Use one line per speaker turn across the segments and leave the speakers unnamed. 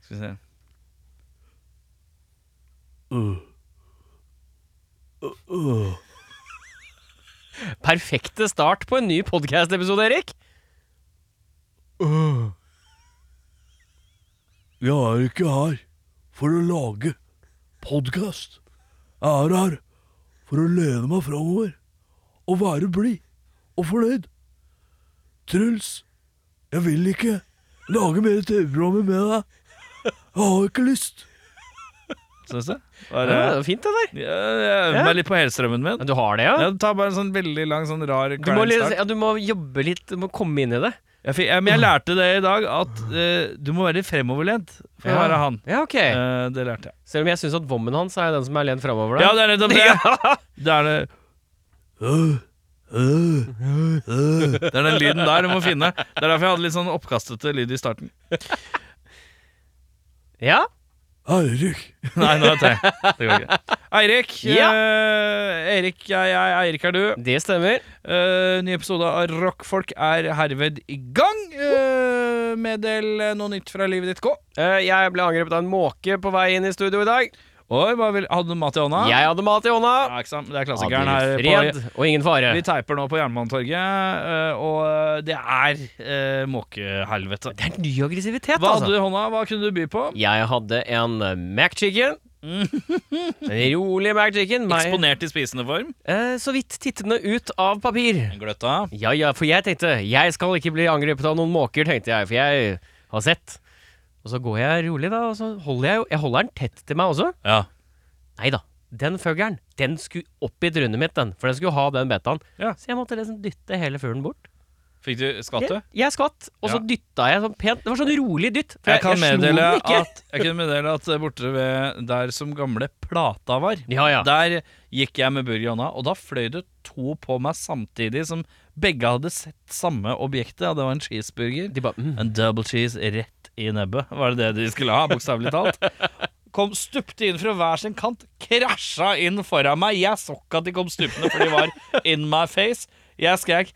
Skal vi se.
Perfekte start på en ny podcast-episode, Erik.
Øh. Jeg er ikke her for å lage podkast. Jeg er her for å lene meg framover og være blid og fornøyd. Truls, jeg vil ikke lage mer TV-programmer med deg. Jeg har ikke lyst.
Syns du?
Ja,
Var
det
det
var fint, det der.
ja, jeg øver
Ja.
meg litt på helstrømmen min.
Men Du har det, ja?
Jeg tar bare en sånn veldig lang, sånn rar
Du må,
klein
litt,
start.
ja, du må jobbe litt, du må komme inn i det.
Jeg, fikk, ja, men jeg lærte det i dag, at eh, du må være litt fremoverlent for å
Ja.
være han.
Ja, ok.
Eh, det lærte jeg.
Selv om jeg syns at vommen hans er den som er lent framover.
Ja, det er nettopp det! Det er, det,
Øh, øh, øh.
det er den lyden der du må finne. Det er derfor jeg hadde litt sånn oppkastete lyd i starten.
ja?
Eirik,
Nei, nå er det tre. Det går ikke. Eirik.
Ja.
eh, Erik er jeg, Eirik er du.
Det stemmer.
Eh, ny episode av Rockfolk er herved i gang. Eh, meddel eh, noe nytt fra livet ditt, K.
Eh, Jeg ble angrepet av en måke på vei inn i studio i dag.
Oi, hva vil, Hadde du mat i hånda?
Jeg hadde mat i hånda.
Ah. Ja, ikke sant? Det er klassikeren
Hadde
her.
fred
På,
og ingen fare.
vi teiper nå på Jernbanetorget, eh, og det er eh, måkehelvete.
Det er ny aggressivitet,
Hva hadde
altså.
du i hånda? Hva kunne du by på?
Jeg hadde en McChicken. En rolig McChicken. meg-
Mm. Eksponert i spisende form.
Eh, så vidt tittende ut av papir.
En Gløtt av.
Ja, ja, for jeg tenkte Jeg skal ikke bli angrepet av noen måker, tenkte jeg, for jeg har sett. Og så går jeg rolig, da, og så holder jeg jo Jeg holder den tett til meg også.
Ja.
Nei da. Den føggelen, den skulle opp i trynet mitt, den. For den skulle ha den betaen.
Ja.
Så jeg måtte liksom dytte hele fuglen bort.
Fikk du skvatt, du?
Jeg, jeg skvatt, og så
Ja.
dytta jeg sånn pent. Det var sånn rolig dytt. for
Jeg kan
slo den
meddele
ikke.
at, jeg kunne meddele at eh, borte ved der som gamle plata var,
Ja, ja.
Der gikk jeg med burger i hånda, og da fløy det to på meg samtidig som begge hadde sett samme objektet, og det var en cheeseburger.
De bare mm.
En double cheese rett i nebbet. Var det det de skulle ha, bokstavelig talt? Kom Stupte inn fra hver sin kant, krasja inn foran meg. Jeg så ikke at de kom stupende, for de var in my face. Jeg skrek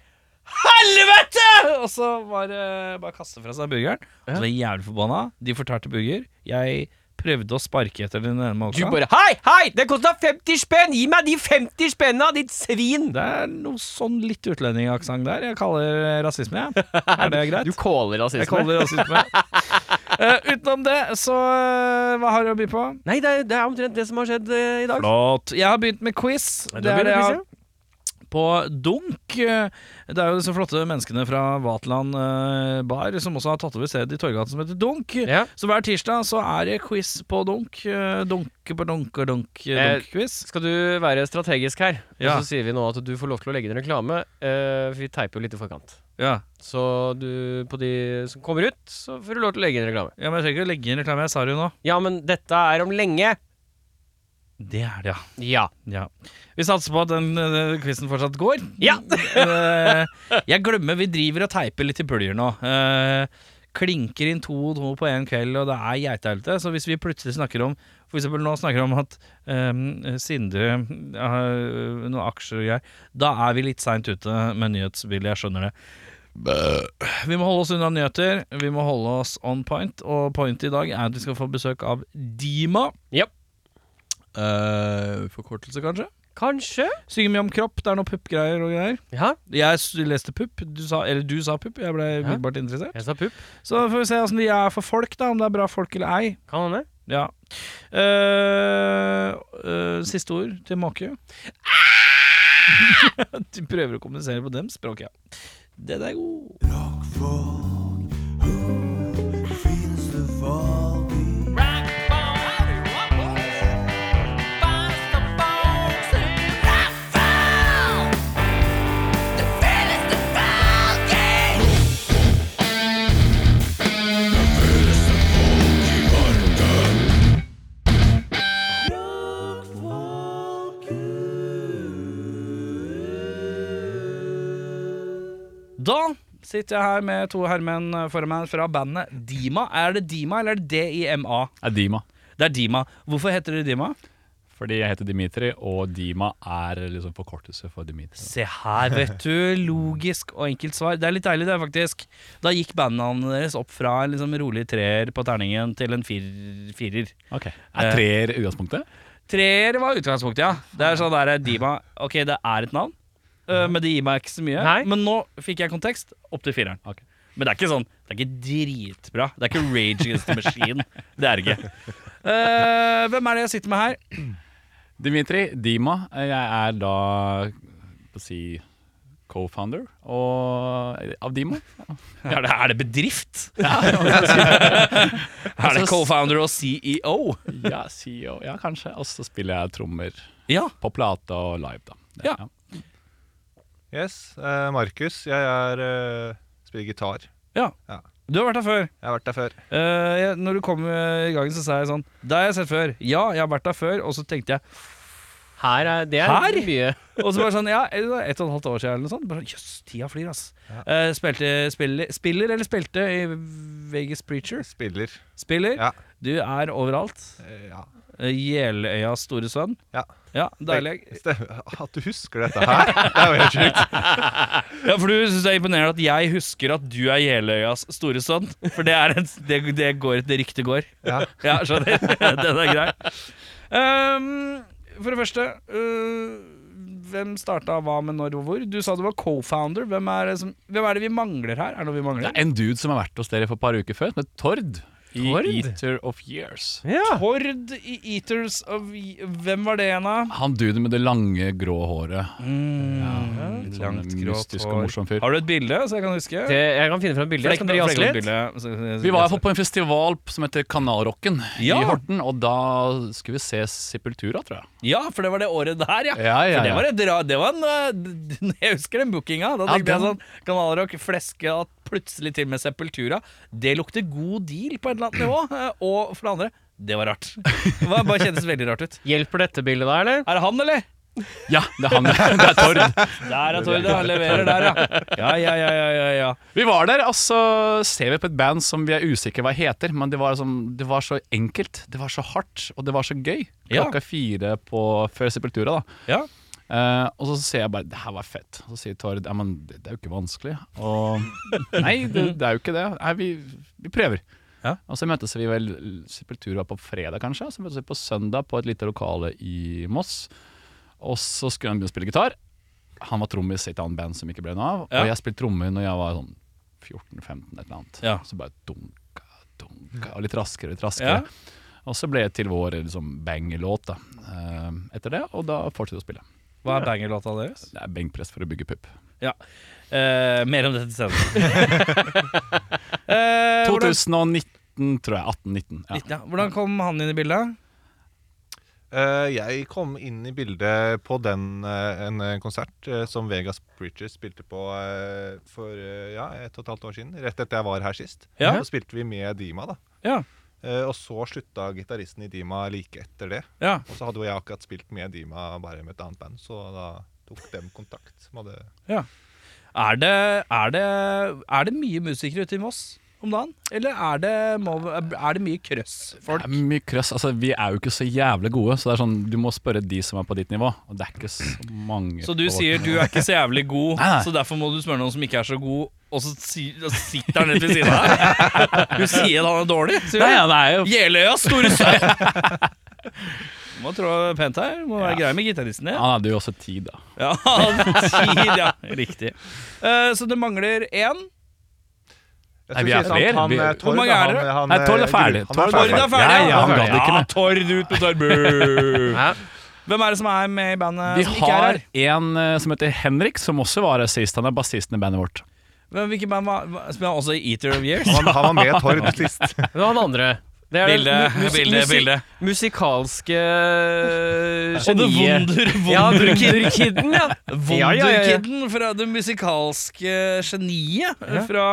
'helvete!' Og så var det bare å kaste fra seg burgeren. Og så var jeg jævlig forbanna. De fortærte burger. Jeg prøvde å sparke etter den ene måka.
Du bare Hei, hei! Det kosta 50 spenn! Gi meg de 50 spenna, ditt svin!
Det er noe sånn litt utlendingaksent der. Jeg kaller det rasisme, jeg. Er det greit?
Du caller
Jeg
rasisme.
kaller det rasisme. Eh, utenom det, så eh, hva har du å by på?
Nei, det er, det er omtrent det som har skjedd eh, i dag.
Flott. Jeg har begynt med quiz.
Ja, du
Det
har
er det jeg
begynt
har på Dunk. Eh, Det er jo disse flotte menneskene fra Vatland eh, bar som også har tatt over stedet i Torgata som heter Dunk.
Ja.
Så hver tirsdag så er det quiz på Dunk. Eh, Dunke på dunk og dunk, eh,
Eh,
dunk-quiz.
Skal du være strategisk her,
Ja.
og så sier vi nå at du får lov til å legge inn reklame, eh, for vi teiper jo litt i forkant.
Ja.
Så du, på de som kommer ut, så får du lov til å legge inn reklame.
ja, men jeg trenger ikke å legge inn reklame. Jeg sa det jo nå.
Ja, men dette er om lenge.
Det er det, ja.
Ja.
Ja. Vi satser på at den uh, quizen fortsatt går.
Ja.
Eh, jeg glemmer Vi driver og teiper litt i puljer nå. Eh, klinker inn to og to på én kveld, og det er geitehelvete. Så hvis vi plutselig snakker om For eksempel nå snakker vi om at eh, Sindre har noen aksjer og greier, da er vi litt seint ute med nyhetsbildet. Jeg skjønner det. Vi må holde oss unna nyheter. Vi må holde oss on point, og pointet i dag er at vi skal få besøk av Dima.
Japp.
Eh, forkortelse, kanskje?
Kanskje?
Synger mye om kropp, det er noe puppgreier og greier.
Ja,
Jeg s- leste pupp, du sa, eller du sa pupp, jeg ble umiddelbart interessert.
jeg sa pupp.
Så får vi se åssen de er for folk, da, om det er bra folk eller ei.
Kan hende.
Ja. Eh, eh, siste ord til måke. Ah! du prøver å kommunisere på dem språket, ja. Den er god. Da sitter jeg her med to herremenn foran meg fra bandet Dima. Er det Dima, eller er det D-I-M-A?
er Dima.
Det er Dima. Hvorfor heter det Dima?
Fordi jeg heter Dimitri, og Dima er liksom forkortelse for Dimitri.
Se her, vet du. Logisk og enkelt svar. Det er litt deilig, det, er faktisk. Da gikk bandnavnet deres opp fra en liksom rolig treer på terningen til en fir firer. Eh,
Ok, Er treer utgangspunktet?
Treer var utgangspunktet, ja. Det er sånn der Dima Ok, det er et navn, øh, men det gir meg ikke så mye.
Nei.
Men nå fikk jeg kontekst opp til fireren.
Ok.
Men det er ikke sånn Det er ikke dritbra. Det er ikke Rage Against the Machine. Det er det ikke. Eh, hvem er det jeg sitter med her?
Dimitri, Dima. Jeg er da på å si co-founder og, av Dima.
Er det, er det bedrift? er det co-founder og E CEO?
Ja, CEO. Ja, kanskje. Og så spiller jeg trommer
Ja.
på plate og live, da.
Ja.
Yes. eh, Markus, jeg er eh, spiller gitar.
ja.
Ja.
Du har vært her før.
Jeg har vært der før.
Eh, jeg, når du kom eh, i gangen, så sa jeg sånn Det har jeg sett før. Ja, jeg har vært der før. Og så tenkte jeg
Her er det er
Her?
mye.
Og så bare sånn, ja, et og et halvt år siden eller noe sånt. Bare sånn, Jøss, tida flyr, ass. Eh, spilte, spiller, spiller eller spilte i Vegas Preacher?
Spiller.
Spiller.
Ja.
Du er overalt.
Eh, ja.
Eh, Jeløyas store sønn.
Ja.
Ja, Deilig.
Stemmer. At du husker dette her, det er jo helt sjukt.
Ja, For du syns det er imponerende at jeg husker at du er Jeløyas store sønn? For det, er et, det, det, går, det ryktet går.
Ja.
Ja, skjønner. Den er grei. Ehm, for det første øh, Hvem starta hva med når og hvor? Du sa du var co-founder. Hvem, er det som- hvem er det vi mangler her? Er det noe vi
Det
mangler?
er en dude som har vært hos dere for et par uker før, som heter Tord. I
Tord?
Eater of Years.
Ja.
Hord i Eaters of Hvem var det igjen, da?
Han duden med det lange, grå håret. Litt sånn
Langt, grått
mystisk
hår.
og morsom fyr.
Mm. Har du et bilde, så jeg kan huske?
Det, jeg kan finne fram bildet. Skal dere jazze litt?
Vi var i hvert fall på en festival som heter Kanalrocken
Ja.
i Horten, og da skulle vi se Sepultura, tror jeg.
Ja, for det var det året der, ja.
Ja, ja,
For det
ja.
var et ra... Det var en øh, Jeg husker den bookinga. Da
Ja,
tenkte jeg
den-
sånn Kanalrock, fleske at plutselig til med Sepultura. Det lukter god deal på et eller annet nivå. eh, Og for det andre, det var rart. Det var bare kjentes veldig rart ut.
Hjelper dette bildet da, eller?
Er det han, eller?
Ja, det er han. Det er Tord.
Der er Tord, han leverer der, ja. Ja, ja, ja, ja, ja, ja.
Vi var der, og så ser vi på et band som vi er usikre hva heter, men det var, sånn, det var så enkelt, det var så hardt, og det var så gøy.
Ja.
Klokka fire på, før Sepultura, da.
ja.
Eh, og så ser jeg bare det her var fett. Og så sier Tord ja, men det, det er jo ikke vanskelig. Og nei, det, det er jo ikke det. Nei, vi, vi prøver.
Ja.
Og så møttes vi vel Sepultura på fredag, kanskje. Så møttes vi på søndag på et lite lokale i Moss. Og så skulle han begynne å spille gitar. Han var trommis i et annet band som ikke ble noe av.
Ja.
Og jeg spilte trommer når jeg var sånn 14-15, et eller annet.
Ja.
Så bare dunka, dunka, og litt raskere, litt raskere.
Ja.
Og så ble det til vår liksom, bang-låt da, eh, etter det, og da fortsatte vi å spille.
Hva er bangerlåta deres?
Det er benkpress for å bygge pupp.
Ja. Eh, mer om dette senere. Eh, hvordan,
2019, tror jeg. 18-19. Ja.
ja, hvordan kom han inn i bildet?
Eh, jeg kom inn i bildet på den eh, en eh, konsert eh, som Vegas Preachers spilte på eh, for eh, ja, et og et halvt år siden. Rett etter jeg var her sist.
Ja.
Så spilte vi med Dima, da.
Ja.
Eh, og så slutta gitaristen i Dima like etter det.
ja.
Og så hadde jo jeg akkurat spilt med Dima bare med et annet band, så da tok dem kontakt. Som hadde
Er det, er, det, er det mye musikere ute i Moss om dagen? Eller er det, må, er det mye
Det
krøssfolk?
er mye krøss. Altså, vi er jo ikke så jævlig gode, så det er sånn, du må spørre de som er på ditt nivå. Og det er ikke så mange.
Så du
på vårt
sier du
nivå.
er ikke så jævlig god,
Nei, nei.
så derfor må du spørre noen som ikke er så god, og så si, og sitter han rett ved siden av deg? Du sier at han er dårlig? sier du?
Nei, ja, det er jo
Jeløya, store sønn! Må trå pent her. Må være
Ja.
grei med gitaristen din.
Han hadde jo også tid, da.
Ja, tid, ja. Riktig. Eh, så det mangler én.
Jeg
Nei,
skulle
vi er
si sånn,
flere.
Han,
Vi-
eh,
Hvor
Tord,
mange
da,
er dere?
han- han,
Nei, Tord er
eh,
ferdig.
han
Tord
er
er
Tord
ferdig.
er ferdig.
Ja, ja, han gadd ikke mer.
Tord ut med Torbu.
Ja.
Hvem er det som er med i bandet
Vi
som ikke er
har
her?
en eh, som heter Henrik, som også var her sist. Han er bassisten i bandet vårt.
Hvem, hvilket band var, var- spiller han også i Eater of Years?
Han, han var med Tord sist.
Men han andre det er
Bilde,
det mu- musi-
bilde,
musi-
bilde.
Musikalske
Og det
geniet.
Wonder,
Ja,
Wonderkid.
Wunderkidden, ja. Ja, ja, ja, ja.
Wonderkidden fra det musikalske geniet fra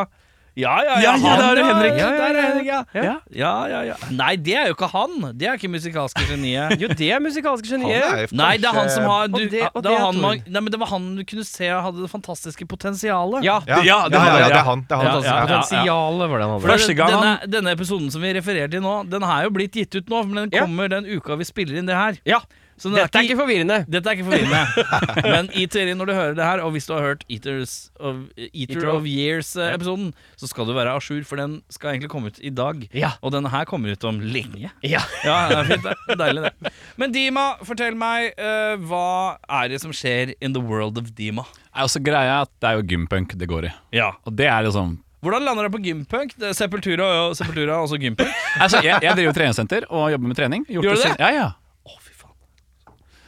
Ja, ja,
Ja, ja,
han,
der er Henrik.
Ja,
Ja, ja,
der er
ja.
Henrik, ja.
Ja.
Ja, ja, ja. Nei, det er jo ikke han. Det er ikke musikalske geniet.
Jo, det er musikalske
Han
geniet.
jo
Nei, det er han som
kanskje-
har du,
Og det- og
det,
det
var
er
han,
Tor.
man, nei, men det var han du kunne se hadde det fantastiske potensialet.
Ja.
ja, ja,
Ja, det
ja,
har
ja,
jeg.
det er han. Det er han.
Ja, ja, ja.
Potensialet var det han hadde.
For det-
Første gang
denne,
han-
denne episoden som vi refererer til nå, den er jo blitt gitt ut nå, men den
Ja.
kommer den uka vi spiller inn det her.
Ja.
Så den
Dette er ikke forvirrende.
dette er ikke forvirrende. Men i teorien, når du hører det her, og hvis du har hørt Eaters of, Eater
Eater of-
of Years-episoden, så skal du være à jour, for den skal egentlig komme ut i dag.
Ja.
Og denne her kommer ut om lenge.
Ja.
Ja, det er fint, det. Det er Deilig, det. Men Dima, fortell meg, eh, hva er det som skjer in the world of Dima?
Nei, og så greia er at det er jo gympunk det går i.
Ja.
Og det er liksom
Hvordan lander du på gympunk? Det er Sepultura og Sepultura, og så gympunk.
altså, jeg, jeg driver jo treningssenter og jobber med trening. Gjort
Gjør du
siden-
det?
Ja, ja.
Å, fy faen.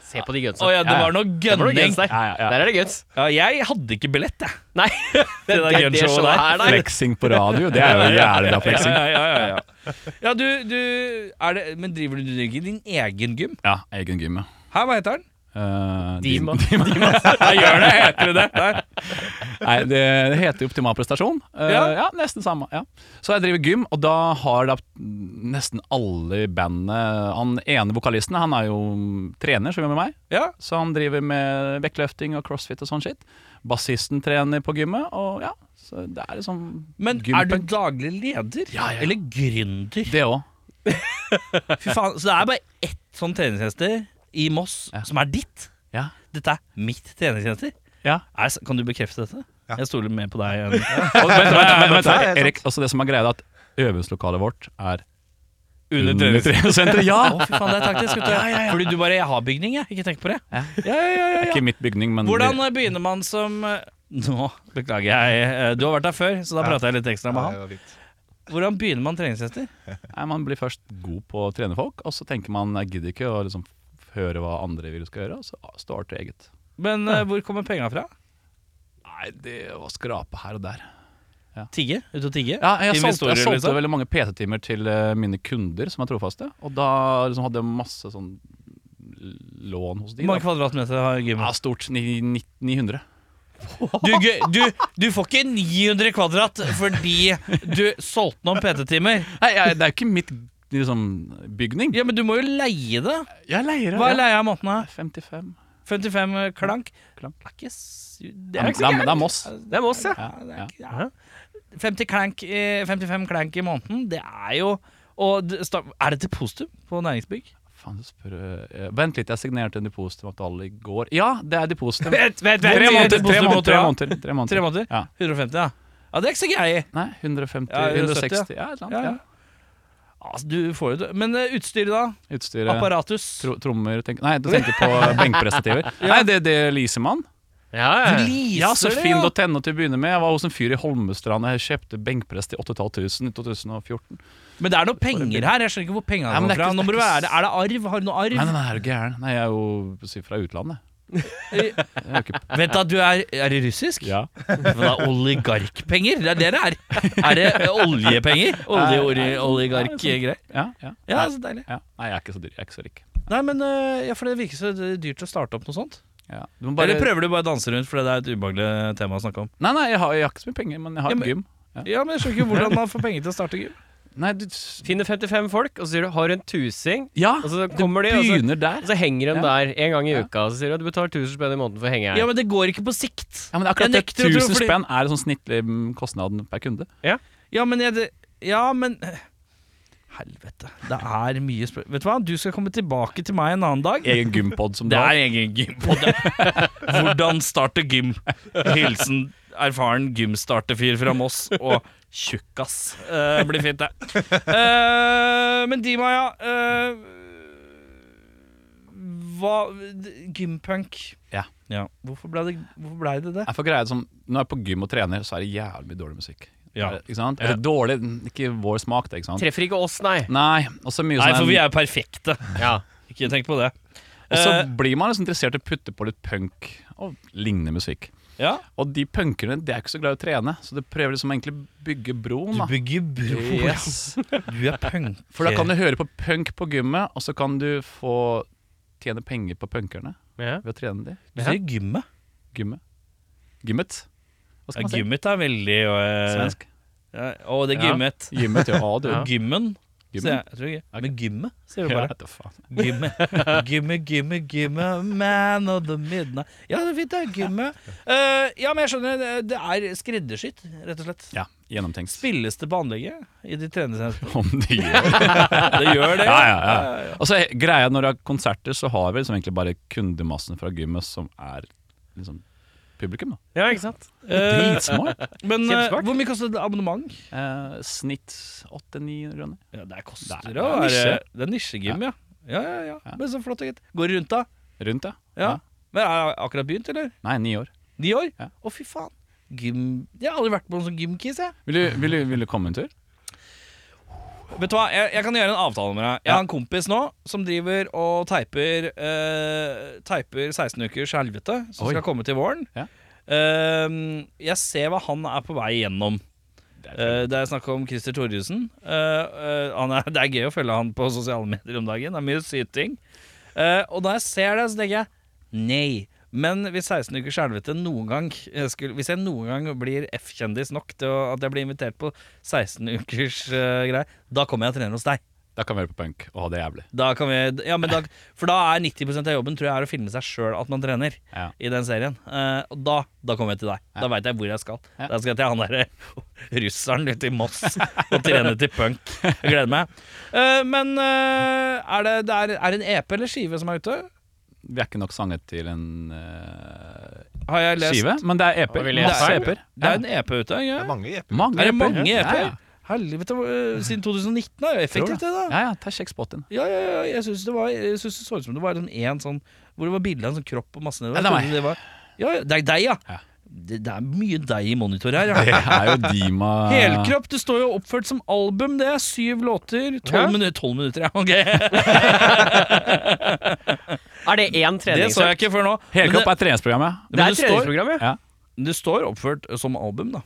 Se på de gunsa.
Å ja, det
Ja, ja.
var noe
Det var noe
gønning.
guns der.
Ja, ja, ja.
Der er det guns.
Ja, jeg hadde ikke billett, jeg.
Nei, det,
der gunshowet der.
Flexing på radio, det er jo jævlig bra flexing.
Ja, ja, ja, ja. ja du, du er det, Men driver du du ikke din egen gym?
Ja, egen gym, ja.
Her, hva heter den?
Eh,
Dima.
Dima.
Nei, gjør det, heter det det? Nei.
Nei, det, det heter jo optimal prestasjon. Eh, ja.
Ja.
nesten samme. Ja. Så jeg driver gym, og da har da nesten alle i bandet Han ene vokalisten han er jo trener, som gjør med meg,
Ja,
så han driver med vektløfting og crossfit og sånn shit. Bassisten trener på gymmet, og ja. Så det er liksom
Men er du
gympunk.
daglig leder?
Ja, ja.
Eller gründer?
Det òg.
Fy faen, Så det er bare ett sånn treningstjenester i Moss
Ja.
som er ditt?
Ja.
Dette er mitt treningstjenester?
Ja.
Er det s- kan du bekrefte dette?
Ja.
Jeg stoler mer på deg. enn-
Og vent, vent, vent, vent,
Ja, ja, ja.
vent, Erik, også det som er greia, er at øvingslokalet vårt er
Under
under treningssenteret. Ja!
Å, fy faen, det er taktisk. vet du. Fordi du bare 'jeg har bygning, jeg'. Ikke tenk på det.
Ja.
Ja, ja, ja, ja, ja.
Ikke i mitt bygning, men
Hvordan eh, begynner man som eh, Nå beklager jeg, eh, du har vært der før, så da
Ja.
prater jeg litt ekstra med
Ja, det
han.
var fint.
Hvordan begynner man treningshester?
Nei, Man blir først god på å trene folk, og så tenker man jeg gidder ikke å liksom høre hva andre vil skal gjøre, og så starter jeg eget.
Men eh, hvor kommer penga fra?
Nei, det var skrape her og der.
Tigge? Ut og tigge?
Ja, jeg solgte,
Investorer,
jeg solgte
liksom?
veldig mange PT-timer til eh, mine kunder som er trofaste, og da liksom hadde jeg masse sånn lån hos de.
Hvor mange
Da.
kvadratmeter har
Ja,
gymmet?
stort ni- ni- 900.
Du, gø- du, du får ikke 900 kvadrat fordi du solgte noen PT-timer.
Nei, jeg, det er jo ikke mitt liksom, bygning.
Ja, Men du må jo leie det.
Jeg leier
Hva er leia i måneden? da?
55.
55 klank?
Klank.
Er ikke s-
Det
Det
er,
jo ikke
det er, det er Moss.
Det er Moss, ja.
Ja, det er ikke, ja. 50 klank, eh, 55 klank i måneden, det er jo og det sta- Er det til positum på næringsbygg?
Faen, du spør eh, Vent litt, jeg signerte en depositumavtale i går. Ja, det er depositum.
Vent, vent,
vent.
Tre
Tre
måneder, tre
måneder,
måneder, tre
ja.
måneder, tre måneder.
Tre måneder?
Ja.
150, ja. Ja, Det er ikke så greie.
Nei, 150,
Ja, 170,
160 Ja, et eller
Ja, ja.
annet.
Altså, du får jo det. Men eh, utstyret, da?
Ja. Utstyret
Apparatus?
tro, Trommer tenker, Nei, du tenker på benkprestativer. Nei, det, det leaser man.
Ja, ja.
Ja, så
det,
finn.no til å begynne med. Jeg var hos en fyr i Holmestrand og jeg kjøpte benkpress til 8500 i 2014.
Men det er noe penger her. Jeg skjønner ikke hvor pengene
Ja,
kommer
men det
fra.
er ikke-
Nå må
det
det
er
være, er det arv? Har du noe
Nei,
arv?
nei, nei, er du gæren? Nei, jeg er jo si, fra utlandet.
Eh,
Jeg er jo ikke
Vent da, du er, er det russisk?
ja.
Men det er oligarkpenger? Det er det det er. Er det eh, oljepenger? Olje, olje, Oligarkgreier?
Ja, ja,
Ja, altså. så deilig.
ja. Nei, jeg er ikke så dyr. Jeg er ikke så rik.
Nei, men eh, ja, for det virker så dyrt å starte opp noe sånt.
Ja. Du må
Eller prøver du bare å danse rundt fordi det er et ubehagelig tema å snakke om?
Nei, nei, jeg har, jeg har ikke så mye penger, men jeg har
Ja,
et
men-
gym.
Ja, men jeg skjønner ikke hvordan man får penger til å starte gym.
Nei, du
Finner 55 folk, og så sier du 'har du en tusing',
Ja,
Altså,
og så kommer de, og så,
begynner der.
og så henger de
Ja.
der en gang i
Ja.
uka, og så sier du at du betaler 1000 spenn i måneden for å henge her.
Ja, men det går ikke på sikt.
Ja, men akkurat
Jeg
det
nekter å tro,
1000
fordi-
spenn er sånn snittlig mm, kostnaden per kunde.
Ja, men jeg, det- Ja, men Helvete. Det er mye spør... Vet du hva, du skal komme tilbake til meg en annen dag.
Egen gympod som
Det
du har.
er egen gympod. Hvordan starte gym? Hilsen erfaren gymstarterfyr fra Moss og tjukkas. Eh, blir fint, det. Eh, men Dima, ja. eh, hva d- Gympunk.
Ja.
Hvorfor blei det, hvorfor ble det det?
Jeg får greie det som, Når jeg er på gym og trener, så er det jævlig mye dårlig musikk.
Ja.
Ikke sant? Eller dårlig, ikke vår smak, det. ikke sant?
Treffer ikke oss, nei.
Nei, og så mye
Nei, for
sånn
vi er jo perfekte.
Ja.
Ikke tenk på det.
Og så
Eh,
blir man liksom interessert i å putte på litt punk og lignende musikk.
ja.
Og de punkerne de er ikke så glad i å trene, så de prøver liksom egentlig å bygge broen.
Du
da
bygger bro.
Yes.
Du er punk.
For da kan du høre på punk på gymmet, og så kan du få tjene penger på punkerne
ja.
ved å trene de.
Du sier gymmet.
Gymmet. Gymmet. Hva
Ja,
skal man si?
gymmet er veldig øh,
Svensk.
Ja, å, det er
Ja.
gymmet.
Gymmet, ja. ja, du.
Gymmen. Så jeg, jeg tror ikke.
Ok.
Men gymmet, sier du
Ja,
bare.
vet du faen.
Gymme, gymme, gymme, gymme Man of the midnight Ja, det er fint det, gymme Eh, Ja, men jeg skjønner, det- det er skreddersytt, rett og slett
Ja, gjennomtenkt.
Spilles det på anlegget i ditt treningssenter?
Om det gjør
Det gjør det
Ja, ja, ja. Og så he- greia når du har konserter, så har vi liksom egentlig bare kundemassen fra gymmet som er liksom publikum, da.
Ja, ikke sant?
Eh,
Dritsmart.
Men eh,
Kjempesmart.
hvor mye koster det abonnement?
Eh, snitt 800-900 kroner.
Ja, det koster
Det
det
er- det
er,
er nisje.
det er nisjegym, ja Ja, ja, ja,
Ja.
men så flott og gitt Går det rundt da?
Rundt, ja.
Ja Men er det akkurat begynt, eller?
Nei, ni år.
Ni år?
Ja.
Å fy faen Gym Jeg har aldri vært på en sånn gymkiss, jeg
Vil du, vil, du, vil du komme en tur?
Vet du hva, jeg, jeg kan gjøre en avtale med deg. Jeg har en kompis nå som driver og teiper eh, Teiper 16 ukers helvete, som
Oi.
skal komme til våren.
Ja.
Eh, jeg ser hva han er på vei gjennom. Eh, det er snakk om Christer Thorjussen. Eh, eh, han er, det er gøy å følge han på sosiale medier om dagen. Det er mye syting. Eh, og da jeg ser det, så tenker jeg nei. Men hvis 16 ukers helvete noen gang eh, skulle, Hvis jeg noen gang blir F-kjendis nok til å, at jeg blir invitert på 16 ukers uh, greie, da kommer jeg og trener hos deg.
Da kan vi være på punk og ha det jævlig.
Da kan vi, ja, men da, for da er 90 av jobben Tror jeg er å filme seg sjøl at man trener.
Ja.
I den serien Eh, Og da, da kommer jeg til deg. Da veit jeg hvor jeg skal.
Ja.
Da skal jeg til han derre russeren ute i Moss og trene til punk. Jeg gleder meg. Eh, men eh, er det, det er, er det en EP eller skive som er ute?
Vi er ikke nok sanget til en eh,
Har jeg lest?
skive, men det er EP-er.
Har vi lest
Masse
her?
EP-er.
Det er en EP ute.
Det
Ja.
er mange EP-er.
Mange
Er
E
det
EP-er.
mange
Ja,
EP-er?
ja.
Helvete, eh, siden 2019 er jo effektivt, det, da.
Ja, ja, ta sjekk spoten.
Ja, ja, ja, jeg syns det, var- jeg synes det så ut som det var en, en sånn Hvor det var bilde av en sånn kropp og masse nedover.
Ja, det er meg.
Jeg trodde det var- ja, ja, det er deg, ja.
Ja.
Det, det er mye deg i monitor her. Ja.
Det er jo Dima
Helkropp, det står jo oppført som album. Det er syv låter. Tolv
Hæ?
minutter, tolv minutter, ja. Ok.
Er det én
Det så jeg
treningsøkt?
ikke før nå. Men
Helkropp
det,
er treningsprogrammet.
Det
men
er
det står,
treningsprogram, ja.
Ja.
det står oppført eh, som album, da.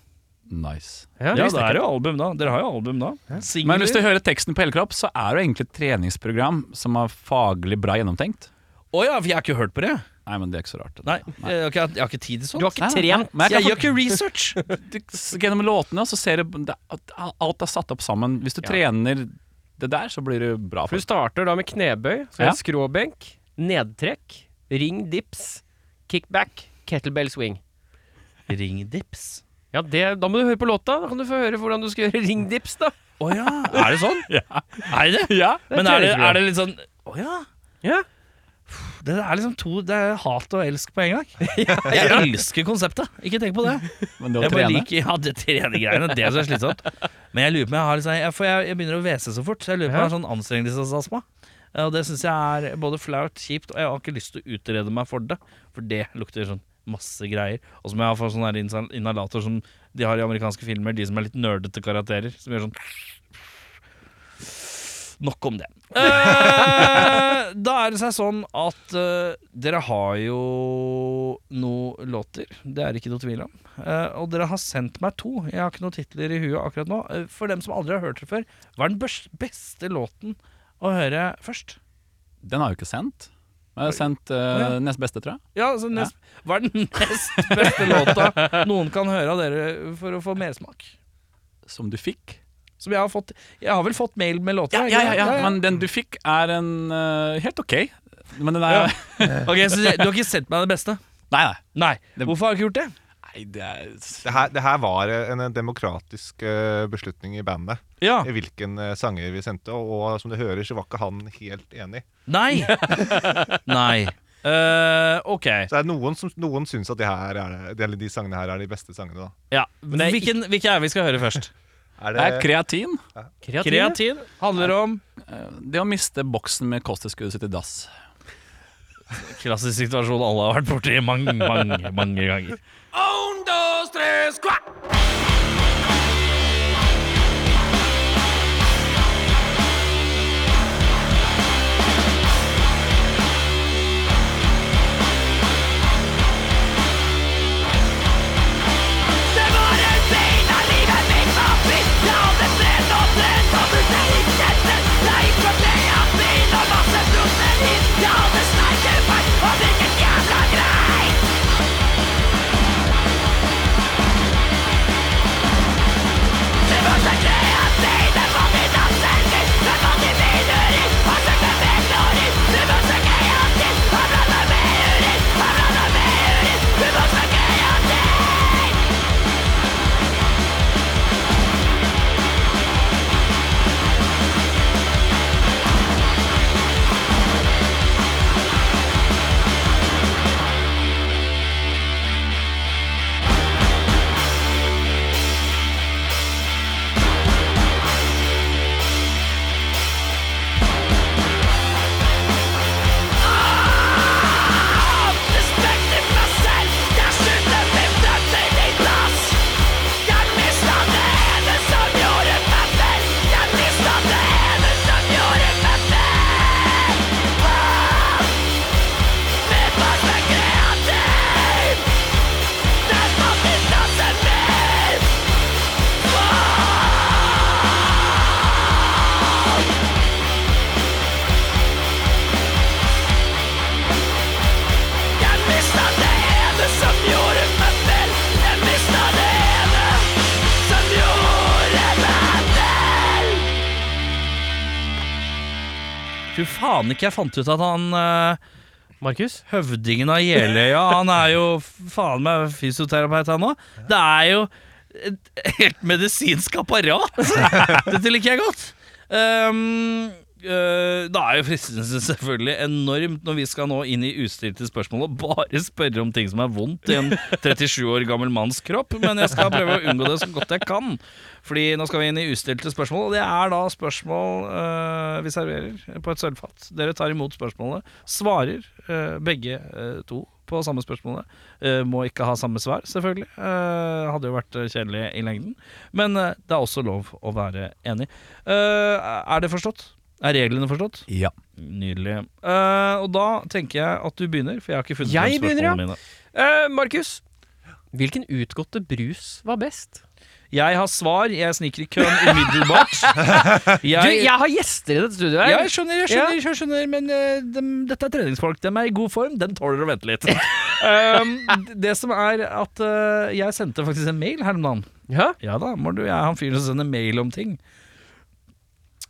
Nice.
Ja,
Ja, det er jo album da. Dere har jo album da.
Men hvis du
Singler.
hører teksten på Helkropp, så er det jo egentlig et treningsprogram som er faglig bra gjennomtenkt.
Å ja, for jeg har ikke hørt på det.
Nei, men det er ikke så rart. det.
Nei, Jeg, har ikke, jeg har ikke tid til sånt.
Du har ikke
Nei, nei, nei.
trent?
Men jeg
jeg
kan
gjør ikke research!
du, s- gjennom låtene og så ser du det, at alt er satt opp sammen. Hvis du trener det der, så blir det bra.
For
For
du starter da med knebøy, så
Ja.
en skråbenk, nedtrekk, ring dips, kickback, kettlebell swing.
Ringdips.
Ja, det, Da må du høre på låta. Da kan du få høre hvordan du skal gjøre ring dips, da.
Å ja. Er det sånn? Er det det?
ja.
Men er det, er det litt sånn Å ja.
Ja.
Det er liksom to Det er hat og elsk på en gang. Jeg elsker konseptet. Ikke tenk på det.
Men det å
Jeg bare
trene
liker ja, det trenegreiene. Det er så slitsomt. Men jeg lurer på om jeg har litt sånn- jeg, For jeg, jeg begynner å hvese så fort, så jeg lurer på om jeg har sånn anstrengelsesastma. Og det syns jeg er både flaut, kjipt, og jeg har ikke lyst til å utrede meg for det. For det lukter sånn masse greier. Og så må jeg ha sånn her insa- inhalator som de har i amerikanske filmer, de som er litt nerdete karakterer. Som gjør sånn Nok om det. Eh, da er det seg sånn at eh, dere har jo noen låter. Det er det ikke noe tvil om. Eh, og dere har sendt meg to. Jeg har ikke noen titler i huet akkurat nå. Eh, for dem som aldri har hørt det før, hva er den børs- beste låten å høre først?
Den har jo ikke sendt. Men jeg har sendt eh,
Å, ja.
nest beste, tror jeg.
Ja, altså, nest, Hva er den nest beste låta noen kan høre av dere for å få mersmak?
Som du fikk.
Som jeg har fått Jeg har vel fått mail med låter?
Ja,
jeg,
ja, ja,
ikke sant?
Men den du fikk, er en eh, helt ok. Men den er
Ja. Ok, Så det- du har ikke sendt meg det beste?
Nei, nei.
Nei.
Det-
Hvorfor har du ikke gjort det?
nei det er,
Det her, det her var en demokratisk eh, beslutning i bandet.
Ja
i Hvilken eh, sanger vi sendte, og, og som du hører, så var ikke han helt enig.
Nei. Nei. Eh, ok.
Så det er noen som noen syns at de, her er, det- eller de sangene her er de beste sangene, da.
Ja. Hvilken, hvilke er vi skal høre først?
Er
det
det,
er kreatin.
Kreatin handler om
Eh, Det å miste boksen med kosttilskuddet sitt i dass.
Klassisk situasjon alle har vært borti mange, mange mange ganger.
Det var en feil av livet mitt var fritt La det brenn og brenn som du selv ikke kjente Nei, fra ble av bil og masse frosne liv Ja, det sneike feil, og hvilken jævla grei
Tror faen ikke jeg fant ut at han eh,
Markus?
høvdingen av Jeløya Han er jo faen meg fysioterapeut, han òg. Det er jo et helt medisinsk apparat! Dette liker jeg godt. Um, øh, da er jo fristelsen selvfølgelig enormt når vi skal nå inn i ustilte spørsmål og bare spørre om ting som er vondt i en 37 år gammel manns kropp, men jeg skal prøve å unngå det så godt jeg kan. Fordi nå skal vi inn i ustilte spørsmål, og det er da spørsmål øh, vi serverer på et sølvfat. Dere tar imot spørsmålet, svarer øh, begge øh, to på samme spørsmålet. Eh, må ikke ha samme svar, selvfølgelig. Eh, hadde jo vært eh, kjedelig i lengden. Men eh, det er også lov å være enig. Eh, er det forstått? Er reglene forstått?
Ja.
Nydelig. Eh, og da tenker jeg at du begynner, for jeg har ikke funnet
Jeg
frem
begynner, ja.
mine.
Eh, Markus, hvilken utgåtte brus var best?
Jeg har svar, jeg sniker i køen umiddelbart.
Du,
Jeg,
jeg har gjester i dette studioet her.
jeg skjønner, jeg skjønner, jeg skjønner men eh, dem- dette er treningsfolk. Dem er i god form, dem tåler å vente litt. Um, d- det som er at eh, jeg sendte faktisk en mail her om dagen.
Ja?
Ja da, må du, jeg er han fyren som sender mail om ting.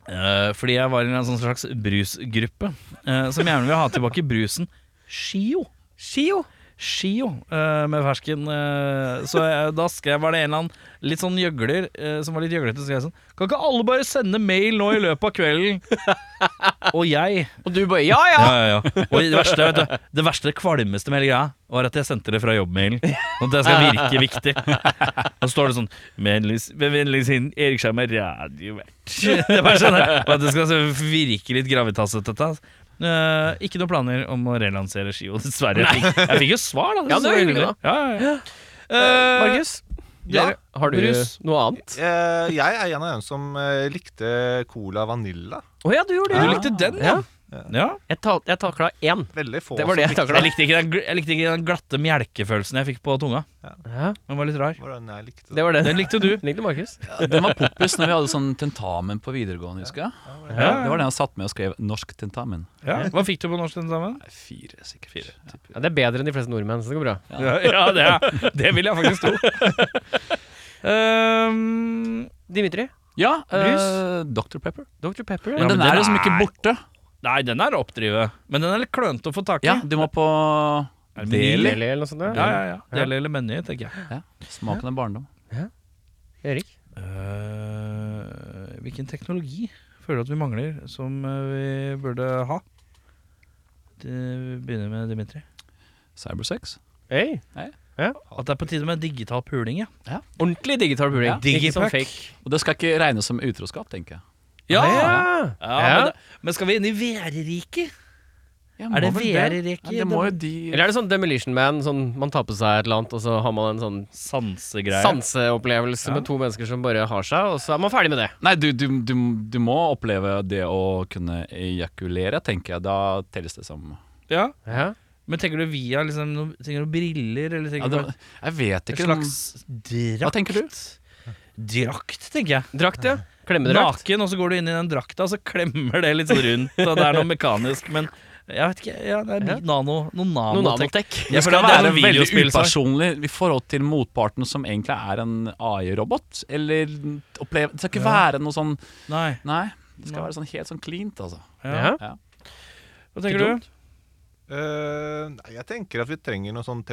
Eh, fordi jeg var i en sånn slags brusgruppe eh, som gjerne vil ha tilbake brusen Shio.
Skio.
Shio eh, med fersken. eh, så jeg, da skrev var det en eller annen litt sånn gjøgler eh, som var litt gjøglete. Så skrev jeg sånn Kan ikke alle bare sende mail nå i løpet av kvelden? Og jeg
Og du bare ja, ja!
ja, ja, ja. Og det verste, vet du, det verste, det kvalmeste med hele greia, var at jeg sendte det fra jobbmailen. Sånn at jeg skal virke viktig. Og så står det sånn "Vennligst- Med vennlig sinn Erik Skjerm er radiovert. Det er bare sånn der, Og at det skal så virke litt gravitasete, dette. altså. Eh, ikke noen planer om å relansere Skio, dessverre. Jeg fikk, jeg fikk jo svar, da.
Ja, det var
synes jeg
hyggelig,
var hyggelig. Ja, ja, ja. Eh,
Markus,
Ja.
dere- har du
Brus.
noe annet?
Eh, jeg er en av dem som eh, likte Cola Vanilla.
Å ja, du gjorde det.
du
ja.
likte den, ja?
Ja.
ja.
Jeg, ta, jeg takla én.
Veldig få
Det var det jeg
som likte
takla.
Jeg, likte ikke den, gl- jeg likte ikke den glatte melkefølelsen jeg fikk på tunga.
Ja,
Den var litt rar.
Var det den jeg likte.
det var den.
Den likte du.
Den likte Markus.
Den var poppis når vi hadde sånn tentamen på videregående, husker jeg. Det var den jeg satt med og skrev 'norsk tentamen'.
Ja. Hva fikk du på norsk den sammen?
Nei, Fire, sikkert.
Ja, det er bedre enn de fleste nordmenn, så det går bra.
Ja, ja det, er, det vil jeg faktisk tro. Ehm,
Dimitri,
Ja,
Brus?
eh, Dr. Pepper.
Dr. Pepper.
Men
eller?
men
den
den
er liksom ikke
er-
borte.
nei, den er å oppdrive, men den er litt klønete å få tak i.
Ja, Du må på
Er det
Deli.
Deli?
Deli eller noe sånt.
Ja,
Ja.
ja, ja. Deli eller meny, tenker jeg.
Ja, Smaken av barndom.
Erik.
Eh, hvilken teknologi føler du at vi mangler, som eh, vi burde ha? Det vi begynner med Dimitri.
Cybersex.
Hey.
At det er på tide med digital puling, ja.
Ordentlig digital puling.
Ja.
Ikke sånn
Digipack.
fake.
Og det skal ikke regnes som utroskap, tenker jeg.
Ja,
ja.
Men, det- men skal vi inn i VR-riket?
Ja,
Er det
må vel
VR-reket?
Ja, det må jo de
Eller er det sånn Demolition Man, sånn man tar på seg et eller annet, og så har man en sånn
Sansegreier.
sanseopplevelse med to mennesker som bare har seg, og så er man ferdig med det.
Nei, du, du, du, du må oppleve det å kunne ejakulere, tenker jeg. Da telles det som
Ja.
Ja.
Men tenker du via liksom, noe- tenker du briller, eller
ja,
tenker
det,
du
Jeg
Et
vet ikke.
slags drakt.
Hva tenker du?
Drakt, tenker jeg.
Drakt, ja. Klemmedrakt.
Naken, og så går du inn i den drakta, og så klemmer det litt sånn rundt. Og det er noe mekanisk, men jeg vet ikke ja, Det er
Ja.
litt nano,
Noe
noe nanotek.
nanotek.
Ja, for
Det skal
det er
være
noe
veldig
videospill, sa jeg.
upersonlig i forhold til motparten, som egentlig er en AI-robot. Eller oppleve Det skal ikke være noe sånn
Nei.
Nei. Det skal være sånn helt sånn cleant, altså.
Ja.
Ja.
Hva tenker du?
Eh, nei, jeg tenker at vi trenger noe sånn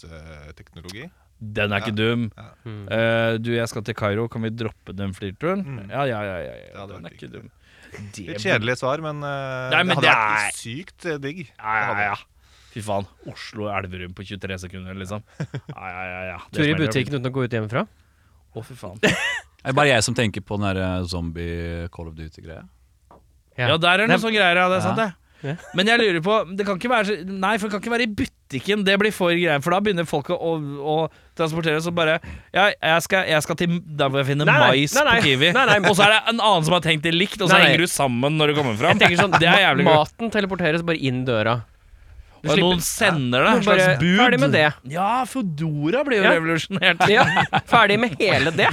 teleporteringsteknologi.
Den er ikke dum.
Ja.
Mm.
Eh, du, jeg skal til Kairo. Kan vi droppe den flirturen?
Mm.
Ja, ja, ja. ja,
Det
ja.
hadde
Den
vært
er ikke
digg,
dum.
Litt
burde-
kjedelig svar, men, eh,
Nei, men
det hadde
det er-
vært sykt eh, digg.
Ja,
Det hadde
ja,
det.
ja. Fy faen. Oslo-Elverum på 23 sekunder, liksom. Ja, ja, ja. ja. Det
Tur i
smeller.
butikken uten å gå ut hjemmefra.
Å, fy faen.
Er det bare jeg som tenker på den der eh, zombie call of duty-greia?
Ja.
Ja, der er noen
Nei,
sånne greier, ja. Det er
Ja.
sant, det.
Ja.
Men jeg lurer på det kan ikke være, så- Nei, for det kan ikke være i butikken. Det blir for greier. For da begynner folk å, å, å transportere så bare Ja, jeg skal, jeg skal til der hvor jeg finner
Nei, nei,
mais
nei, nei.
på Kiwi.
Nei, nei.
Og så er det en annen som har tenkt det likt, og så
Nei, nei.
henger du sammen når du kommer fram.
Jeg tenker sånn,
det er jævlig kult.
Maten teleporteres bare inn døra. Du
Og
slipper-
noen sender det.
Noen bare
slags bud.
Ferdig med det.
Ja, Fodora blir jo
Ja.
revolusjonert.
Ja, ferdig med hele det.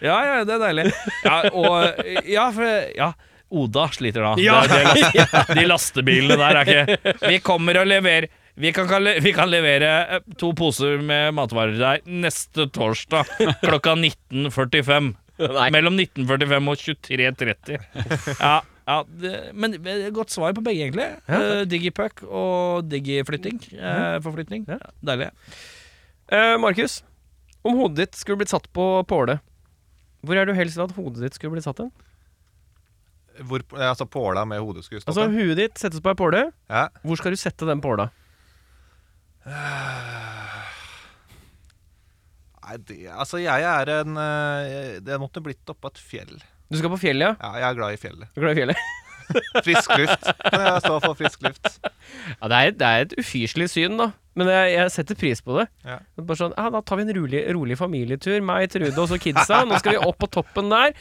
Ja, ja, det er deilig. Ja, og Ja, for Ja. Oda sliter da.
Ja.
Det er- det er last- de lastebilene der er ikke Vi kommer og leverer vi kan, kan le- vi kan levere eh, to poser med matvarer til deg neste torsdag klokka 19.45.
Nei.
Mellom 19.45 og 23.30. Ja, Ja, det, men eh, godt svar på begge, egentlig.
Ja,
Eh, Digipuck og digiflytting. Eh, forflytning.
Ja.
Deilig.
Eh, Markus, om hodet ditt skulle blitt satt på påle, hvor er du helst at hodet ditt skulle blitt satt hen?
Hvor, eh, altså påla med hodet skulle stått
Altså,
der.
huet ditt settes på ei påle.
ja.
Hvor skal du sette den påla?
Nei, det, altså jeg er en eh, Det måtte blitt oppå et fjell.
Du skal på fjellet, ja.
Ja, jeg er glad i fjellet.
Du er glad i fjellet?
Frisk luft. Kan jeg stå for frisk luft?
Ja, det er, det er et ufyselig syn, da. Men jeg, jeg setter pris på det.
Ja.
Bare sånn, ja, Da tar vi en rolig, rolig familietur, meg, Trude og så kidsa. Nå skal vi opp på toppen der.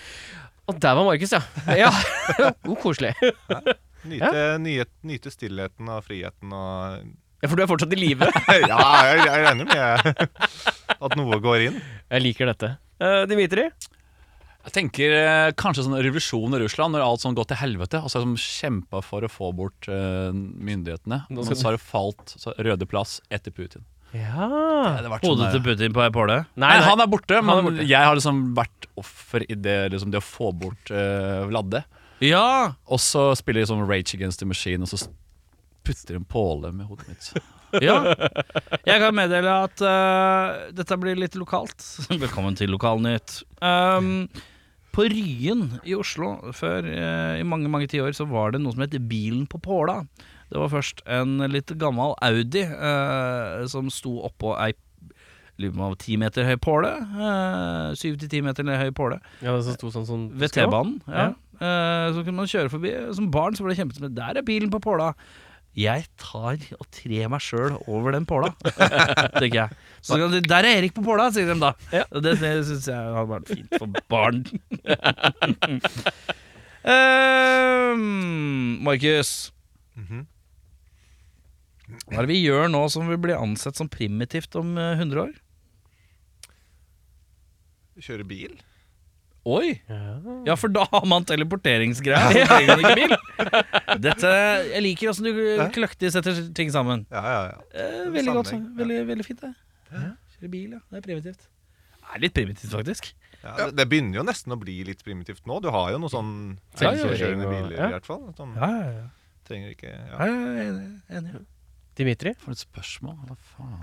Og der var Markus, ja. ja. Oh, koselig.
Nyte, nye- nyte stillheten og friheten og
Ja, For du er fortsatt i live.
Ja, jeg, jeg regner med at noe går inn.
Jeg liker dette. Eh, Dimitri,
Jeg tenker eh, kanskje sånn revolusjon i Russland, når alt sånn går til helvete. Og så har de kjempa for å få bort eh, myndighetene.
Nå
Men
skal
så har det falt så Røde plass etter Putin.
Ja
Det har vært sånn
Hodet
der-
til Putin på ei påle.
Nei,
Nei, nei.
han er borte, men
er borte.
jeg har liksom vært offer i det, liksom det å få bort eh, Vladde.
Ja!
Og så spiller de sånn Rage Against the Machine, og så s- putter de en påle med hodet mitt.
ja. Jeg kan meddele at eh, dette blir litt lokalt. Velkommen til Lokalnytt. Um, på Ryen i Oslo før eh, i mange mange tiår så var det noe som het Bilen på påla. Det var først en litt gammel Audi eh, som sto oppå ei lurer på om det var ti meter høy påle. eh, Syv til ti meter høy påle.
Ja, det som sto sånn, sånn
Ved T-banen. Ja. Eh, så kunne man kjøre forbi. Som barn så ble det kjempet med Der er bilen på påla! Jeg tar og trer meg sjøl over den påla, tenker jeg. Så kan de, Der er Erik på påla, sier de da. Og Det, det syns jeg hadde vært fint for barn. Ehm, Markus. Hva er det vi gjør nå som vil bli ansett som primitivt om eh, 100 år?
Kjøre bil.
Oi!
Ja.
Ja, for da har man teleporteringsgreier. så trenger man ikke bil. Dette, jeg liker åssen du kløktig setter ting sammen.
Ja, ja, ja.
Eh, veldig godt.
Sammenheng, ja.
Veldig, veldig fint, det. Kjøre bil, ja. Det er primitivt. Det er litt primitivt, faktisk.
Ja, det, det begynner jo nesten å bli litt primitivt nå. Du har jo noen sånn
Ja, ja, ja.
selvkjørende biler,
Ja.
i hvert fall. Sånn,
Ja, ja, ja.
trenger ikke ja.
ja, ja, ja, enig.
Dimitri?
For et spørsmål. Hva faen?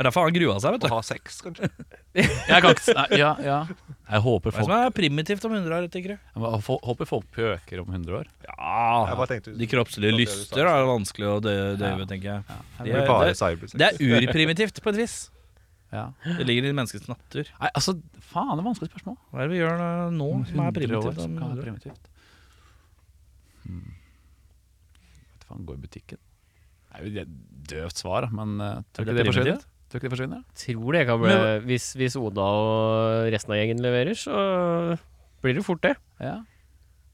Det er derfor han grua seg, vet
Å
du.
ha sex, kanskje.
Jeg kan ikke Nei, ja, ja. Jeg håper
Hva er det
folk,
som er primitivt om 100 år, tenker du?
jeg fo- håper folk pøker om 100 år.
Jeg
Ja,
bare tenkte
de kroppslige lyster er vanskelig å dø- døyve, tenker jeg.
sånn. Det
De
blir
er-
bare
det,
sånn. cybersex.
det er urprimitivt, på et vis.
Ja.
Det ligger i menneskets natur.
Nei, altså, faen, det er vanskelig spørsmål.
Hva er det vi gjør eh, nå
Mm,
Om
som er
100 år
primitivt?
som
om 100 år?
kan være primitivt. Hmm. Vet faen, gå i butikken. Det er jo et døvt svar, da, men eh, tror
Er
ikke
det
det forsvinner.
primitivt?
Tror ikke det forsvinner.
Tror det kan bli hvis, hvis Oda og resten av gjengen leverer, så blir det fort det.
Ja.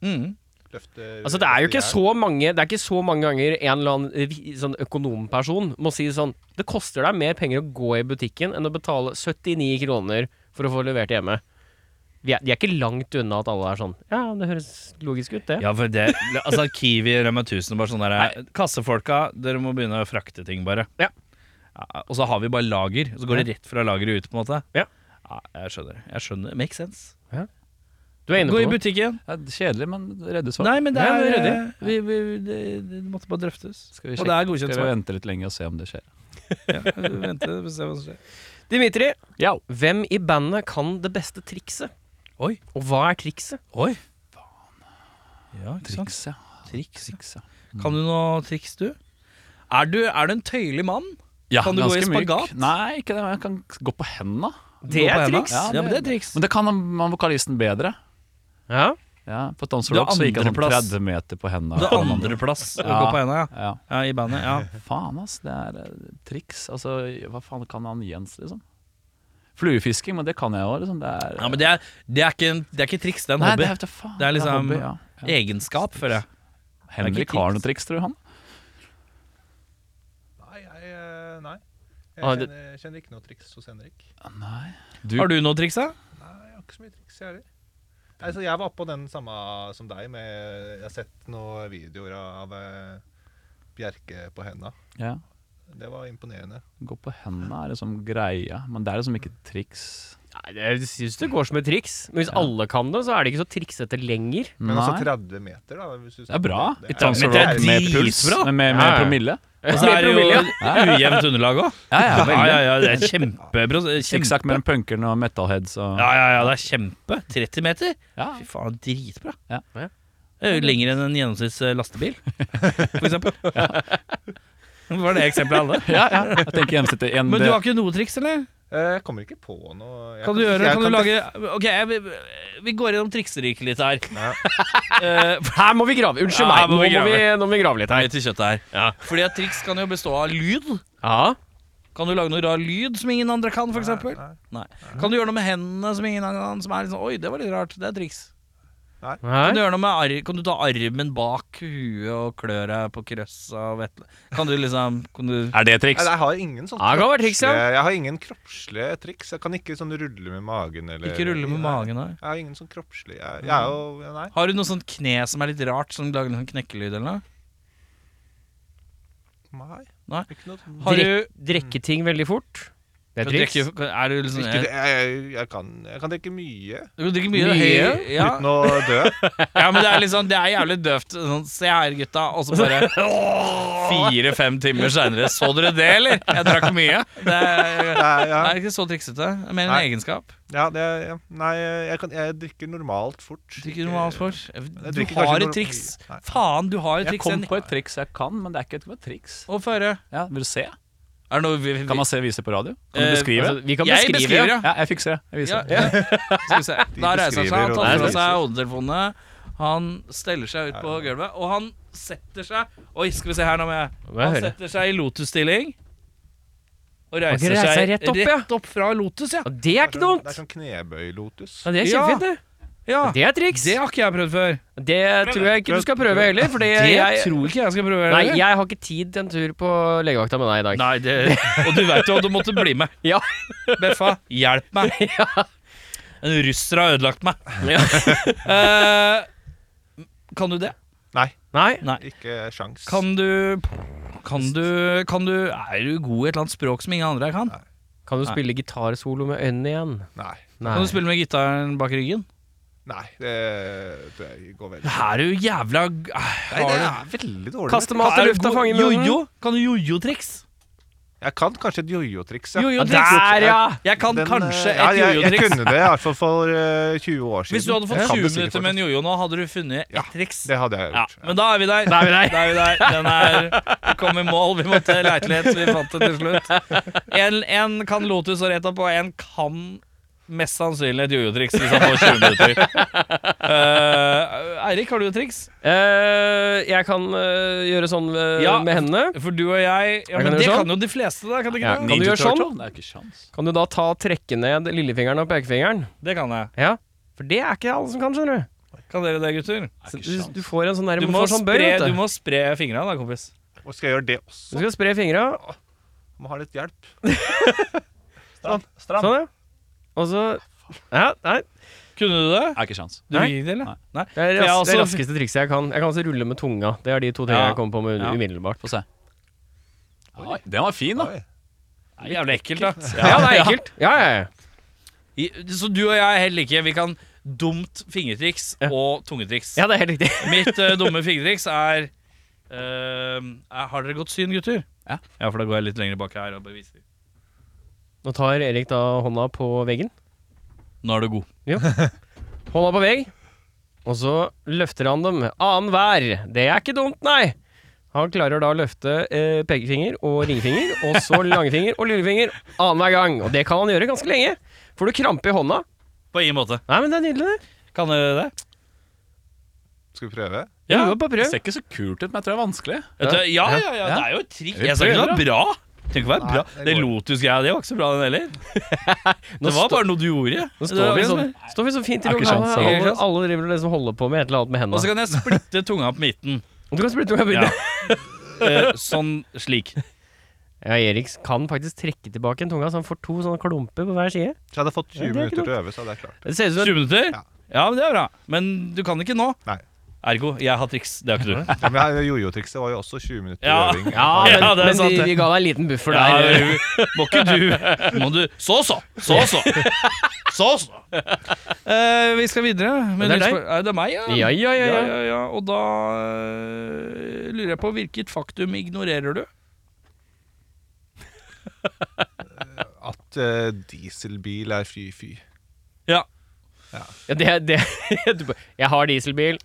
Mm.
Løfter-
Altså Det er jo ikke
løfter
så mange Det er ikke så mange ganger en eller annen vi- sånn økonomperson må si sånn Det koster deg mer penger å gå i butikken enn å betale 79 kroner for å få levert hjemme. Vi er, de er ikke langt unna at alle er sånn Ja, det høres logisk ut, det.
Ja, for det Altså, Kiwi, Rema 1000 bare sånn der Kassefolka, dere må begynne å frakte ting, bare.
Ja.
Ja, Og så har vi bare lager. Så går det rett fra lageret ut, på en måte.
Ja.
Ja, jeg skjønner. Jeg skjønner. Makes sense.
Du er inne
Gå i
på noe.
butikken.
Det er kjedelig, men redde svar.
Nei, men det
Ja,
er
det er
eh, vi, vi, det, det måtte bare drøftes.
Skal vi
Og det
sjekke?
er godkjent
Skal vi
svar.
vente litt lenge og se om det skjer?
Ja, vi venter, vi får se hva som skjer.
Dimitri,
Ja.
hvem i bandet kan det beste trikset?
Oi.
Og hva er trikset?
Oi. Ja, ikke sant.
Triks, ja. Triks, ja.
Kan du noe triks, du? Er du, er du en tøyelig mann?
Ja,
Kan du gå i
ganske myk.
spagat?
Nei, ikke det. men Jeg kan gå på hendene.
Det
Gå på
er
henda?
triks.
Ja, men det er triks.
Men det kan man vokalisten bedre.
Ja.
Ja, på Dance
Du
Rock så gikk han sånn
andreplass.
30 meter på hendene.
Det er andreplass å gå
Ja.
på henda, ja.
Ja.
ja. I bandet. Ja.
Faen, ass. Det er eh, triks. Altså, hva faen kan han Jens, liksom? Fluefisking, men det kan jeg òg, liksom. Det er
ja men det er, det, er ikke, en- det er ikke triks, det er en
Nei,
hobby.
det er, vet du faen,
Det er liksom-
hobby, ja. Ja.
Egenskap, føler jeg.
Henrik
triks.
har noe triks, tror du han?
jeg. Nei, jeg, eh, nei.
Ah,
Jeg
det-
kjenner, jeg kjenner ikke noe triks hos Henrik.
Nei. Du,
Har du noe triks, da?
Nei, jeg har ikke så mye triks, jeg heller. Nei, så jeg var oppå den samme som deg. Med, jeg har sett noen videoer av eh, Bjerke på henda.
Ja.
Det var imponerende.
Gå på hendene er liksom greia, men det er liksom ikke triks.
Nei, Jeg syns det går som et triks. Men hvis alle kan det, så er det ikke så triksete lenger.
Men altså
Nei.
30 meter, da. Hvis du
Det er bra.
Det
Litt
er,
Dancer
det er
Rock med puls,
dritbra.
med, med,
Ja,
med
ja.
promille.
Og så er det jo ujevnt underlag òg.
Ja, ja,
Ja,
veldig.
ja, ja, det er kjempe, kjempe
Sikksakk mellom punkerne og metalheads og
Ja, ja, ja, det er kjempe. 30 meter.
Ja.
Fy faen, dritbra.
Ja.
Ja.
Det er jo lenger enn en gjennomsnitts eh, lastebil, for eksempel. Var det eksempelet alle?
Ja, ja. Jeg tenker gjennomsnittet en
Men du har ikke noe triks, eller?
Eh, jeg kommer ikke på noe Jeg
Kan du gjøre
jeg
Kan du
tenke-
lage Ok, jeg, vi, vi går gjennom trikseriket litt her.
Ja.
Eh,
Her må vi grave. Unnskyld meg.
Ja, her
Nå
må
må,
vi
vi,
grave.
nå må vi grave litt her.
Litt i kjøttet her. Fordi at triks kan jo bestå av lyd.
Ja.
Kan du lage noe rar lyd som ingen andre kan, f.eks.?
Nei, nei.
Nei. Kan du gjøre noe med hendene som ingen andre som er litt sånn Oi, det var litt rart. Det er triks. Kan du,
Her.
gjøre noe med ar kan du ta armen bak huet og klø deg på krøssa og vet Kan du liksom kan du
Er det
Nei,
triks?
jeg har ingen sånn
Ja, det kan være triks, ja.
kroppslige- Jeg har ingen kroppslige triks. Jeg kan ikke sånn rulle med magen eller
ikke rulle med
Nei.
magen her?
Jeg har ingen sånn kroppslig Jeg, jeg er jo Nei.
Har du noe sånt kne som er litt rart, som lager en sånn knekkelyd eller noe?
nei.
Nei.
Ikke noe sånn-
Har du
Drikk, drikke ting veldig fort. Det er triks.
Drikker- Er du liksom
ikke, det- jeg, jeg, kan, jeg kan drikke mye
Du kan drikke mye,
Mye?
høy ja.
uten å dø.
ja, men det er liksom Det er jævlig døvt sånn, Se her gutta Og så bare Fire-fem timer senere Så dere det eller? Jeg drakk mye Det er, det
Nei, ja.
er ikke så triksete Mer en
Nei.
egenskap
Ja, det, ja. Nei, jeg, kan, jeg drikker normalt fort.
Drikker du noe annet for? Du
drikker kanskje
har
noe-
et triks
Nei.
Faen, du har et
Jeg
triks
kom
Henrik.
på et triks jeg kan, men det er ikke et triks.
Å få høre
Ja, Vil du se?
Er det noe vi, vi,
Kan man se vise på radio? Kan
Eh,
du beskrive?
Altså, vi kan
Jeg
beskrive.
beskriver, ja
Ja, jeg fikk se. Jeg
Ja,
viser.
ja. Skal vi se. Da reiser han seg, han
beskriver,
tar
og
fra
de
seg
viser.
hodetelefonene. Han steller seg ut på gulvet, og han setter seg Oi, skal vi se her nå, må jeg
må jeg
Han
høre.
setter seg i lotusstilling. Og reiser
reiser
seg
seg rett opp, ja.
fra lotus, ja.
Ja, det er ikke
Det
dumt.
er sånn knebøy-lotus.
Ja, det er
Ja.
kjempefint, det.
ja.
Det er triks.
Det har ikke jeg prøvd før.
Det tror jeg ikke du skal prøve heller, fordi
Det
jeg
tror ikke jeg skal prøve.
Nei,
heller.
jeg har ikke tid til en tur på legevakta med deg i dag.
Nei, det, og du veit jo at du måtte bli med.
Ja.
Beffa, hjelp meg. En russer har ødelagt meg. Eh, kan du det?
Nei,
Nei.
ikke sjans.
Kan du Kan du, kan du Er du god i et eller annet språk som ingen andre kan?
Kan du
Nei.
spille gitarsolo med øynene igjen?
Nei.
Nei.
Kan du spille med gitaren bak ryggen?
Nei, det tror jeg går veldig
Er du jævla
Nei, det er veldig dårlig.
Kaste mat i lufta, fange munnen.
Jojo? Kan du jojo-triks?
Jeg kan kanskje et jojo-triks. ja.
Ja,
Jojo-triks.
der, ja!
Jeg kan
Den,
kanskje
eh, ja,
et
jeg, jeg
jojo-triks.
kunne det i hvert fall for eh, 20 år siden.
Hvis du hadde
Jeg
fått
kan
20
det sikkert
minutter med en jojo nå, hadde du funnet ett
Ja,
triks.
fortsatt. Det hadde jeg
Ja,
gjort.
men da er vi der. Da er vi der. Den er Vi kom i mål. Vi måtte leite litt, så vi fant det til slutt. En, en kan Lotus og Reta på, en kan mest sannsynlig et jojo-triks hvis han får 20 minutter. Eh, Eirik, har du et triks?
Eh, jeg kan eh, gjøre sånn eh,
Ja.
med hendene.
For du og jeg Ja,
Jeg
men
kan gjøre
Det
sånn.
kan jo de fleste, da. Kan de ikke
Ja.
det?
Kan du gjøre sånn?
Det er ikke sjans.
Kan du da ta trekke ned lillefingeren og pekefingeren?
Det kan jeg.
Ja. For det er ikke alle som kan, skjønner du.
Kan dere det, gutter?
Så du, du får en sånn der,
Du
du
må,
får sånn bøy,
spre,
vet
du
du.
må spre fingra, da, kompis.
Og skal jeg gjøre det
Du
også?
skal spre fingra.
Må ha litt hjelp.
Sånn, ja. Og så Ja, nei.
Kunne du det?
Det er ikke sjans.
Du
Nei.
fikk det, eller? Nei.
Det er
For jeg
ras,
har
det
også-
raskeste trikset jeg kan. Jeg kan også rulle med tunga. Det er de to tingene
Ja.
jeg kom på med
Ja.
umiddelbart.
Få se. Oi, den var fin, da.
Oi.
Det er Jævlig ekkelt, da.
Ja, det er ekkelt. Ja, ja, ja.
I- Så du og jeg er helt like. Vi kan dumt fingertriks og tungetriks.
ja det er helt riktig.
Mitt eh, dumme fingertriks er eh, er- Har dere godt syn, gutter?
Ja.
for da går jeg litt lenger bak her og bare viser.
Nå tar Erik da hånda på veggen.
Nå er du god.
Hånda på vegg. Og så løfter han dem annenhver. Det er ikke dumt, nei. Han klarer da å løfte eh, pekefinger og ringfinger, og så langfinger og lillefinger annenhver gang. Og det kan han gjøre ganske lenge. Får du krampe i hånda?
På ingen måte.
Nei, men det er nydelig, det.
Kan dere det?
Skal vi prøve?
Ja.
Jo, bare
Det
prøv.
ser ikke så kult ut, men jeg tror det er vanskelig.
Vet du, ja, ja, ja, det er jo et triks.
Vi
Jeg sa ikke det var
prøver,
bra. Tenk å være bra.
Nei, det
Det
går.
Lotus-greia, det var ikke så bra, den heller. Det var bare noe du gjorde.
Nå
Det
står
var
vi
ikke
sånn, står vi så fint i
Det er
lokalet.
ikke sant,
sant.
Alle, alle driver og liksom holder på med et eller annet med
Og så
hendene.
kan jeg splitte tunga på midten.
Du kan spørre om jeg begynner.
Eh, sånn slik.
Ja, Erik kan faktisk trekke tilbake en tunga, så han får to sånne klumper på hver side.
Så hadde jeg fått 20
Ja, det er ikke
minutter til å øve, så hadde jeg klart det.
Det ser ut som
20 minutter?
Ja.
Ja, men det er bra. Men du kan ikke nå.
Nei.
Ergo, jeg har triks. Det har ikke du.
Ja, men Jojo-trikset var jo også 20 minutter
Ja.
øving.
Ja,
Ja,
men,
det er
men
sant,
vi,
det.
vi ga deg en liten buffer
Ja,
der.
du- må ikke du Må du Så så! Så så! Så så! Eh, vi skal videre. med
Det er
nytt
deg.
spør- Eh, det er meg, ja.
Ja, ja, ja, ja.
Og da eh, lurer jeg på hvilket faktum ignorerer du?
At eh, dieselbil er fy-fy.
Ja.
Ja, det, det, du, bare, jeg har dieselbil.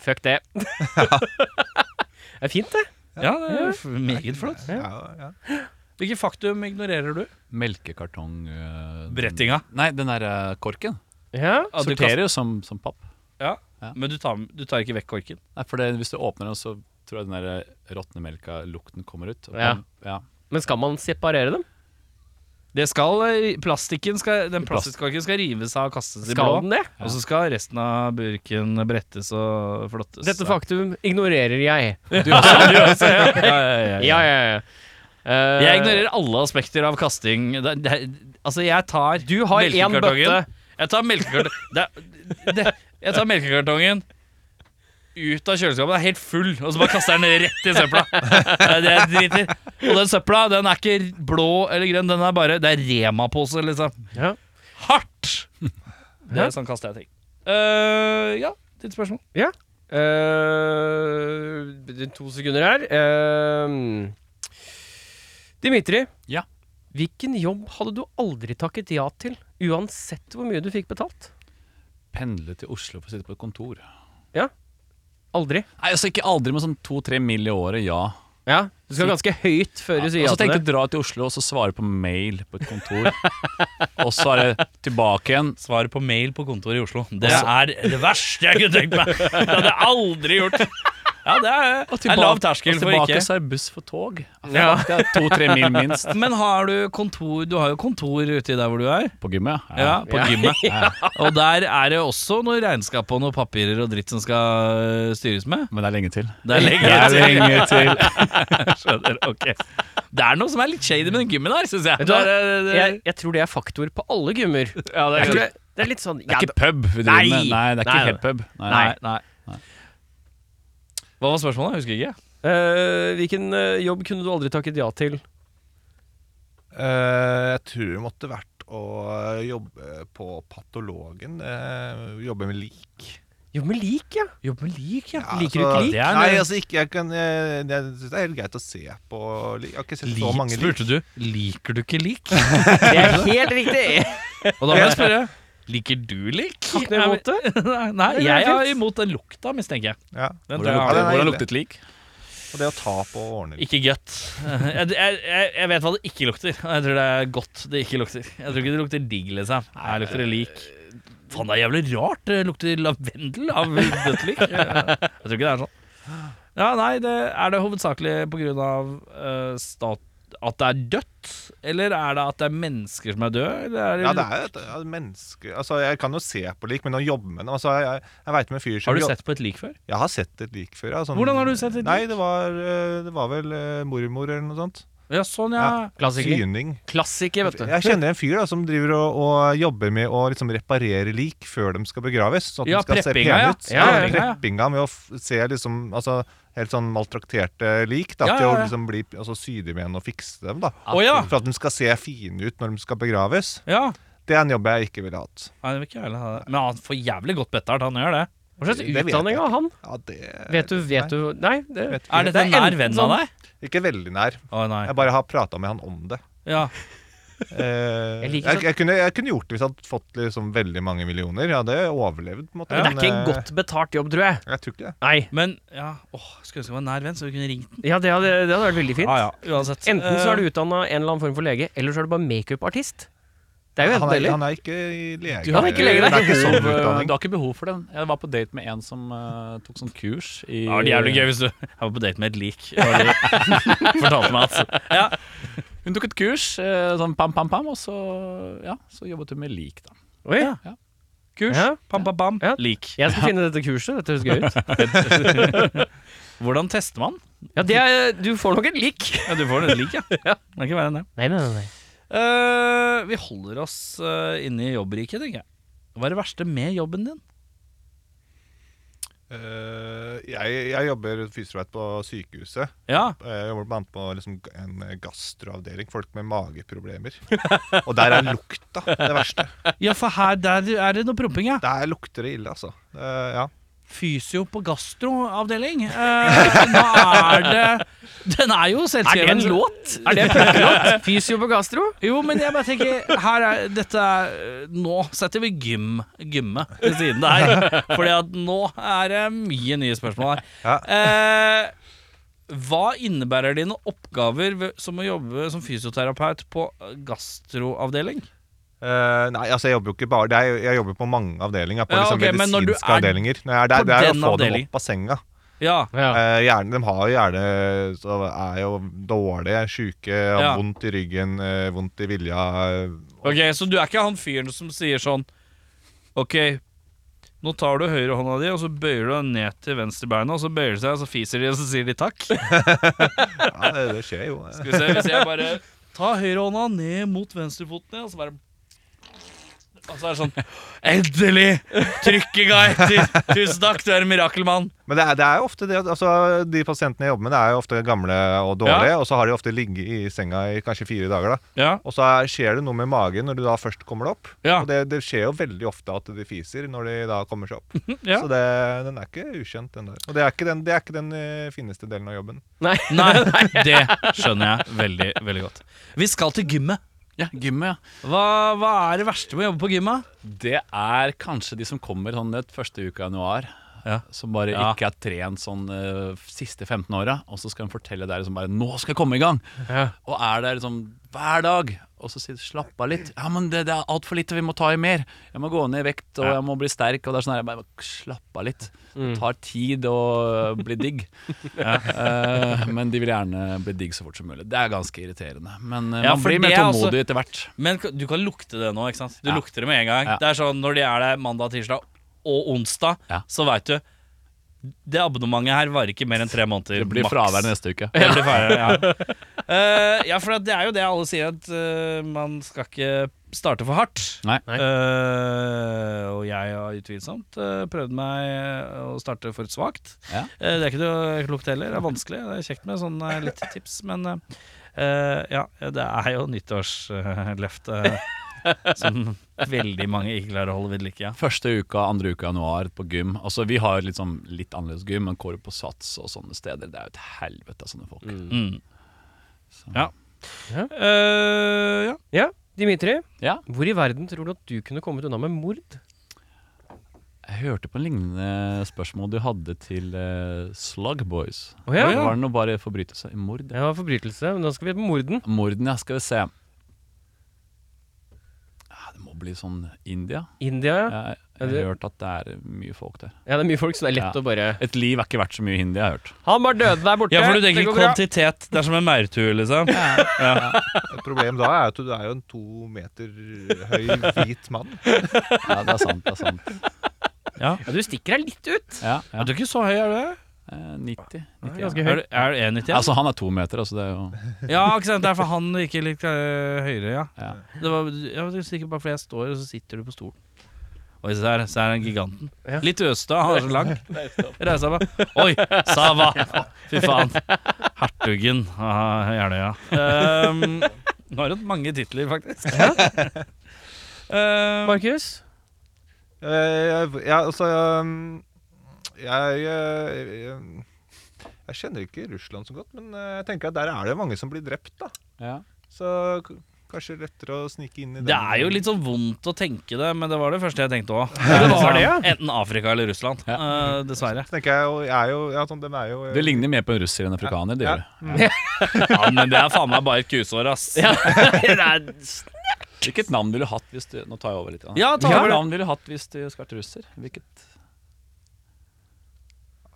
Fuck det. det er fint, det.
Ja, det er f- meget flott.
Ja, ja.
Hvilket faktum ignorerer du?
Melkekartong eh, den-
Brettinga.
Nei, den der eh, korken.
Ja.
Ja, du
Sorterer jo som, som papp.
Ja.
Ja.
Men du tar, du tar ikke vekk korken.
Nei, for det, Hvis du åpner den, så tror jeg den der eh, råtne melka lukten kommer ut. Og
Ja.
den- ja.
Men skal man separere dem?
Det skal, eh, plastikken skal, Den plastkorken skal rives av og kastes i
Skal
blå.
den det?
Og så skal resten av burken brettes og flottes.
Dette faktum ignorerer jeg.
Du også, du også, ja. Ja, ja, ja,
Ja,
ja.
ja, ja. Eh,
Jeg ignorerer alle aspekter av kasting. Det, det, altså, jeg tar
Du har én
melkekartongen.
bøtte.
Jeg tar melkekartongen det, det, Jeg tar melkekartongen ut av kjøleskapet. Den er helt full, og så bare kaster jeg den rett i søpla. Det er det jeg driter. Og den søpla den er ikke blå eller grønn, den er bare Det er Rema-pose, liksom.
Ja.
Hardt! Det er sånn kaster jeg ting. Eh, ja, ditt spørsmål.
Eh, to sekunder her. Eh, Dimitri.
Ja.
Hvilken jobb hadde du aldri takket ja til, uansett hvor mye du fikk betalt?
Pendle til Oslo for å sitte på et kontor.
Aldri.
Nei, altså Ikke aldri, men sånn to-tre mill. i året, ja.
Ja, Du skal ganske høyt før du sier
og
ja
så tenkte
til
jeg
det.
dra til Oslo og så svare på mail på et kontor. og så er det tilbake igjen.
Svaret på mail på kontoret i Oslo. Det er det verste jeg kunne tenkt meg! Det hadde jeg aldri gjort. Ja, det er,
tilbake-
er lav terskel
og
for
tilbake
ikke.
så er det buss for tog.
Ja.
Det er To-tre mil minst
Men har du kontor Du har jo kontor uti der hvor du er.
på gymmet.
Ja, på gymmet. Og der er det også noe regnskap og noen papirer og dritt som skal øh, styres med.
Men det er lenge til.
Det er lenge til. Skjønner, ok. Det er noe som er litt shady med den gymmen der, syns jeg.
Vet du hva?
Det er- øh, det-
Jeg, jeg tror det er faktor på alle gymmer.
det er
Jeg tror det, det er litt sånn
Det
ja,
er ikke pub vi
Nei.
driver med. Nei, det er ikke
Nei.
helt pub. Nei.
Nei, nei. Hva var spørsmålet? Jeg husker ikke.
Eh, hvilken eh, jobb kunne du aldri takket ja til?
Eh, jeg tror det måtte vært å eh, jobbe på patologen. eh, jobbe med lik.
Jo, med lik, ja.
Jobbe med lik, ja. altså,
Liker du ikke lik?
Det er
Nei,
noe-
altså ikke Jeg, kan, jeg, jeg synes det er helt greit å se på lik. Jeg har ikke sett så mange lik.
Spurte du liker du ikke lik?
Det er helt riktig!
Og da må jeg spørre Liker du lik?
Ikke noe imot det.
Nei, nei,
Det er
jeg er
fint.
imot den lukta, mistenker jeg.
Ja.
Den
Hvordan
tror jeg
Ja,
luktet,
den er
hvordan
ille.
luktet lik?
Og det å ta på og ordne
er ikke godt. Jeg, jeg, jeg- jeg vet hva det ikke lukter. og Jeg tror det er godt det ikke lukter. Jeg tror ikke det lukter digg, liksom. Her lukter det lik. Faen, det er jævlig rart. Det lukter lavendel av dødt lik. Jeg tror ikke det er sånn. Ja, nei, det, Er det hovedsakelig på grunn av eh, stat, at det er dødt? Eller er det at det er mennesker som er døde? Eller er det
Ja, det er jo et ja, menneske Altså, jeg kan jo se på lik, men å jobbe med det altså, Jeg, jeg, jeg vet om en fyr som
Har du
jo-
sett på et lik før?
Jeg har sett et lik før. Ja, sånn-
Hvordan har du sett et lik?
Nei, det var, eh, det var vel eh, mormor eller noe sånt.
Ja, sånn, ja.
Klassiker.
Syning.
Klassiker, vet du.
Jeg kjenner en fyr da som driver og, og jobber med å liksom reparere lik før de skal begraves. Sånn at
Ja,
de skal se
preppinga,
pene
ja. Ja,
ut.
ja,
ja, ja.
Preppinga med å f se liksom altså, helt sånn maltrakterte lik da,
Ja,
til
ja,
å
ja.
liksom bli altså, sy dem igjen og fikse dem. da
Å ja.
For at de skal se fine ut når de skal begraves.
ja.
Det er en jobb jeg ikke ville hatt.
Nei, det vil ikke jeg heller ha det. Men han får jævlig godt betalt, han gjør det.
Hva slags
Det vet jeg Eh,
utdanning har han?
Ja, det
Vet du, vet du Nei, det
Vet ikke.
Er dette en
Det er
nær
enten
venn av
sånn-
deg?
Ikke veldig nær.
Å nei.
Jeg bare har prata med han om det.
Ja.
Eh,
Jeg
jeg,
liker
jeg,
sånn-
kunne, jeg kunne gjort det hvis jeg hadde fått liksom, veldig mange millioner. Jeg hadde overlevd. På en måte,
Men det er
men,
ikke en
eh,
godt betalt jobb, tror jeg.
Jeg tror ikke det.
Nei.
Men ja, åh, skulle ønske jeg var nær venn, så vi kunne ringt den.
Ja, det hadde, det hadde vært veldig fint.
Ja, ja, uansett.
Enten så er du utdanna en eller annen form for lege, eller så er du bare makeupartist. Det er jo
Han
enten
er,
eller.
han er ikke i lege.
Du- han er ikke lege,
det
nei.
er ikke sånn
Du
utdanning.
har ikke behov for den. Jeg var på date med en som eh, tok sånn kurs i
Ja, det er jævlig gøy hvis du Jeg var på date med et lik. Det var det du Fortalte meg at ja.
Hun tok et kurs, eh, sånn pam, pam, pam, og så, ja, så jobbet hun med lik, da.
Oi.
Kurs.
Ja.
Pam, pam, pam.
Ja.
Lik.
Jeg skal finne dette kurset. Dette høres gøy ut.
Eh, Hvordan tester man?
Ja, det er, du får nok en lik.
Ja, du får et lik, ja. Det er ikke verre enn det.
Nei, nei, nei.
Eh, vi holder oss eh, inne i jobbriket, tenker jeg. Hva er det verste med jobben din?
Eh, Jeg, jeg jobber fysioterapeut på sykehuset.
Ja.
Jeg jobber blant annet på liksom en gastroavdeling. Folk med mageproblemer. Og der er lukta det verste.
ja, for her der er det noe promping, ja.
Der lukter det ille, altså. Eh, ja.
Fysio på gastroavdeling. Eh, da er det Den er
Er det
jo
en
selvskreven.
låt? Er det en plukkelåt? Fysio på gastro?
Jo, men jeg bare tenker her er, dette er, Nå setter vi gym, gymme til siden der. Fordi at nå er det mye nye spørsmål her.
Ja.
Eh, hva innebærer dine oppgaver ved, som å jobbe som fysioterapeut på gastroavdeling?
Eh, nei, altså jeg jobber jo ikke bare det er, Jeg jobber på mange avdelinger. På
Ja,
liksom
ok, men når du
medisinske
er
avdelinger. Når jeg er der,
på
det er å
den
få dem
avdeling-
opp av senga.
Ja.
Ja.
Eh, gjerne, de har jo gjerne Så er jo dårlige, sjuke, har
Ja.
vondt i ryggen, eh, vondt i vilja. eh,
Ok, Så du er ikke han fyren som sier sånn Ok, nå tar du høyrehånda di, og så bøyer du den ned til venstrebeinet, og så bøyer de seg, og så fiser de, og så sier de takk. Skal
Ja, det, det skjer jo. eh.
vi se, hvis jeg bare Ta høyrehånda ned mot venstrefoten, ja, og så bare Og så er det sånn Endelig! Trykket ga etter! Tusen takk, du er en mirakelmann.
Men det er, det er jo ofte det at- altså, De pasientene jeg jobber med, det er jo ofte gamle og dårlige. Og så har de ofte ligget i senga i kanskje fire dager. da
Ja,
Og så er, skjer det noe med magen når du da først kommer deg opp.
Ja.
Og det, det skjer jo veldig ofte at de fiser når de da kommer seg opp.
ja.
Så det, den er ikke ukjent, den der. Og det er ikke den, det er ikke den eh, fineste delen av jobben.
Nei.
Nei, det skjønner jeg veldig, veldig godt. Vi skal til gymmet.
Ja, gymmet, ja.
Hva, hva er det verste med å jobbe på gymmet?
Det er kanskje de som kommer sånn et første uke av januar.
Ja.
Som bare
Ja.
ikke er trent sånn eh, siste 15 åra. Og så skal de fortelle deg liksom bare 'Nå skal jeg komme i gang!' Og er der liksom hver dag. Og så sier du 'slapp av litt'. 'Ja, men det, det er altfor lite, vi må ta i mer'. 'Jeg må gå ned i vekt, og jeg må bli sterk'. Og det er sånn her, jeg bare Slapp av litt. Det
Mm.
tar tid å eh, bli digg. Eh, men de vil gjerne bli digg så fort som mulig. Det er ganske irriterende. Men eh,
Ja,
man
for
blir mer
det er altså også-
tålmodig etter hvert.
Men k- du kan lukte det nå, ikke sant? Du
Ja.
lukter det med en gang.
Ja.
Det er sånn Når de er der mandag, tirsdag og onsdag,
Ja.
så veit du Det abonnementet her varer ikke mer enn tre måneder.
Det blir
maks.
fravær neste uke.
Det blir fravær, ja. Eh, ja, for det er jo det alle sier, at eh, man skal ikke starte for hardt.
Nei.
Eh, og jeg har utvilsomt eh, prøvd meg eh, å starte for svakt.
Ja.
Eh, det er ikke noe klokt heller. Det er vanskelig. Det er kjekt med sånn eh, litt tips, men eh, ja, det er jo nyttårsløftet eh, som veldig mange ikke klarer å holde ved like. Ja.
Første uka, andre uka i januar på gym. Altså, vi har litt, sånn, litt annerledes gym, men Kåre på Sats og sånne steder. Det er jo et helvete av sånne folk.
Mm.
Så-
Ja.
Ja.
Eh, ja.
ja. Dimitri,
Ja.
hvor i verden tror du at du kunne kommet unna med mord?
Jeg hørte på en lignende spørsmål du hadde til eh, Slug Boys.
Å ja.
Det Var det nå bare forbrytelse i mord?
Det var forbrytelse, men da skal vi på morden.
Morden, ja. Skal vi se. Ja, det må bli sånn India.
India, ja. Ja,
Jeg, jeg
det-
har hørt at det er mye folk der.
Ja, det er mye folk, så det er lett
Ja.
å bare
Et liv er ikke verdt så mye i India, jeg har hørt.
Han var døde der borte.
ja, for du tenker
det går bra.
kvantitet. Det er som en maurtue, liksom.
Problemet da er at du er jo en to meter høy hvit mann.
Ja, det er sant, det er sant.
Ja, du stikker deg litt ut.
Ja, ja.
Er du ikke så høy, er du det?
Eh, 90.
Ganske
Er
høy.
du, er du 1,91?
Altså, han er to meter, altså det er jo
Ja, ikke sant? Det er for han virker litt øh, høyere, ja.
Ja.
Det var, jeg var sikkert bare fordi jeg står, og så sitter du på stolen. Oi, se der, så er den giganten.
Ja.
Litt østa, han er så lang. Reis deg opp. Oi, Sava! Fy faen. Hertugen av Jeløya. Ehm, Nå har du hatt mange titler, faktisk. Ehm,
Markus?
Eh, jeg, jeg, altså um, jeg, jeg, jeg, jeg kjenner ikke Russland så godt, men eh, jeg tenker at der er det mange som blir drept, da.
ja.
Så k kanskje lettere å snike inn i den.
det er jo litt så vondt å tenke det, men det var det første jeg tenkte òg.
det var det, ja.
Enten Afrika eller Russland. Eh, dessverre.
Så tenker jeg jo, jeg er jo, ja, sånn, dem er jo
Det ligner mer på en russer enn en afrikaner. Det
Ja.
gjør det.
Ja, men det er faen meg bare et kusår, ass.
det er
Hvilket navn ville du hatt hvis du Nå tar jeg over litt.
Ja, ta
Hvilket
over det.
navn ville du hatt hvis du skulle vært russer? Hvilket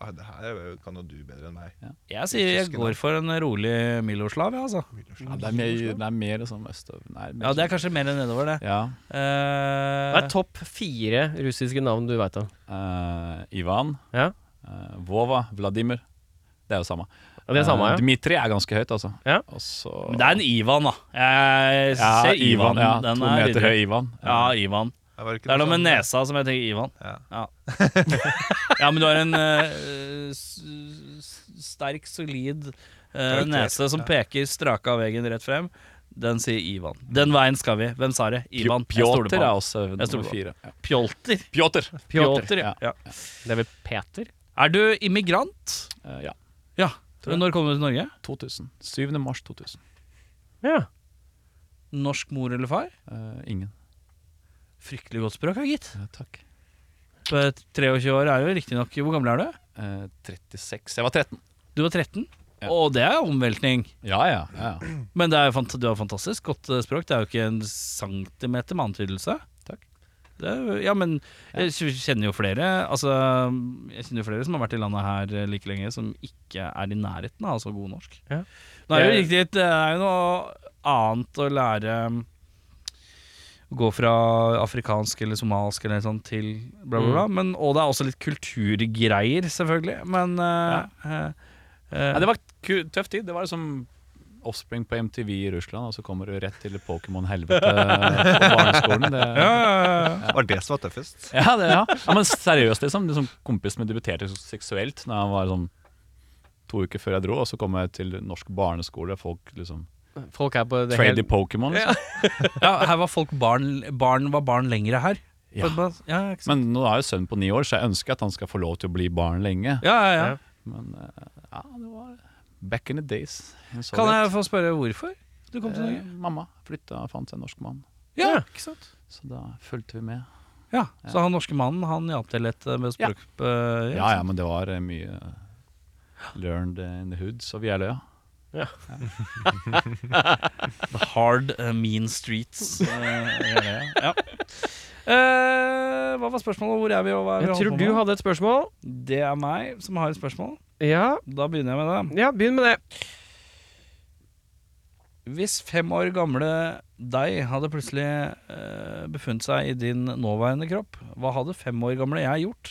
Ah, Det her er jo- kan jo du bedre enn meg.
Jeg sier jeg går for en rolig Miloslav, ja, altså.
ja, det, er mer, det er mer sånn østøv... Nei, mer
Ja, det er kanskje mer nedover, det.
ja.
Hva er topp fire russiske navn du veit om?
eh, Ivan.
Ja.
eh, Vova. Vladimir. Det er jo samme.
Ja, det er samme,
Eh,
ja.
Dmitri er ganske høyt, altså.
Ja.
Og så
men det er en Ivan, da. Jeg
ja,
ser Ivan.
Ivan. Ja,
den
to
er
meter
videre.
høy Ivan.
Ja, Ivan.
Ja, Det var ikke
Det er noe med
sånn-
nesa som jeg tenker Ivan.
Ja.
Ja, ja men du har en eh, s- s- sterk, solid eh,
Karakter,
nese som
ja.
peker straka av veggen rett frem. Den sier Ivan. Den veien skal vi. Hvem sa det? Ivan. Jeg stoler
Pjotr
på
er
han.
også
Jeg stoler
nummer
på
fire. Ja.
Pjolter.
Pjotr.
Pjolter, ja. ja.
ja.
Det er vel Peter?
Er du immigrant?
Eh, ja.
Ja. Når kom du til Norge?
2000. 7. mars 2000.
Ja.
Norsk mor eller far?
Eh, ingen.
Fryktelig godt språk, ja, gitt.
Eh, takk.
På 23 år er jo riktignok Hvor gammel er du?
Eh, 36. Jeg var 13.
Du var 13?
Ja.
Å, det er omveltning.
Ja, ja. ja, ja.
Men det er jo fant du har fantastisk godt eh, språk. Det er jo ikke en centimeter med antydelse.
Takk.
Det er, jo- ja, men jeg kj- kjenner jo flere Altså, jeg kjenner jo flere som har vært i landet her eh, like lenge, som ikke er i nærheten av så god norsk.
Ja.
Nå er det jo riktig, det er jo noe annet å lære um, å gå fra afrikansk eller somalisk eller sånn til bla, bla, bla. Men, og det er også litt kulturgreier, selvfølgelig. Men eh, eh, eh,
Nei, det var ku tøff tid. Det var liksom Offspring på MTV i Russland, og så kommer du rett til Pokémon-helvete på barneskolen. Det,
ja, ja, ja.
Det var det som var tøffest.
Ja, det, ja. ja men seriøst, liksom. liksom kompisen min debuterte så seksuelt Når han var sånn to uker før jeg dro, og så kom jeg til norsk barneskole, og folk liksom
Folk er på det
Trade i
helt
Pokémon. Liksom.
Ja, her var folk barn, barn var barn lengre her.
Ja.
På- på- ja, ikke sant?
liksom. Men nå er jo sønnen på ni år, så jeg ønsker at han skal få lov til å bli barn lenge.
ja, ja, ja.
Ja.
Men eh, ja, det var back in the days.
Kan jeg få spørre hvorfor du kom til
Eh,
Norge?
Mamma flytta og fant seg en norsk mann,
Ja, ikke sant?
så da fulgte vi med.
Ja, Så han norske mannen han hjalp til litt med språk... eh,
Ja ja, men det var eh, mye learned in the hood, så vi er løya.
The hard eh, mean streets. eh, ja, ja, ja. Eh, hva var spørsmålet? Hvor er vi? Og hva er vi
Jeg
holdt
tror
på
du
med?
hadde et spørsmål.
Det er meg som har et spørsmål.
Ja,
Da begynner jeg med det.
ja begynn med det.
Hvis fem år gamle deg hadde plutselig eh, befunnet seg i din nåværende kropp, hva hadde fem år gamle jeg gjort?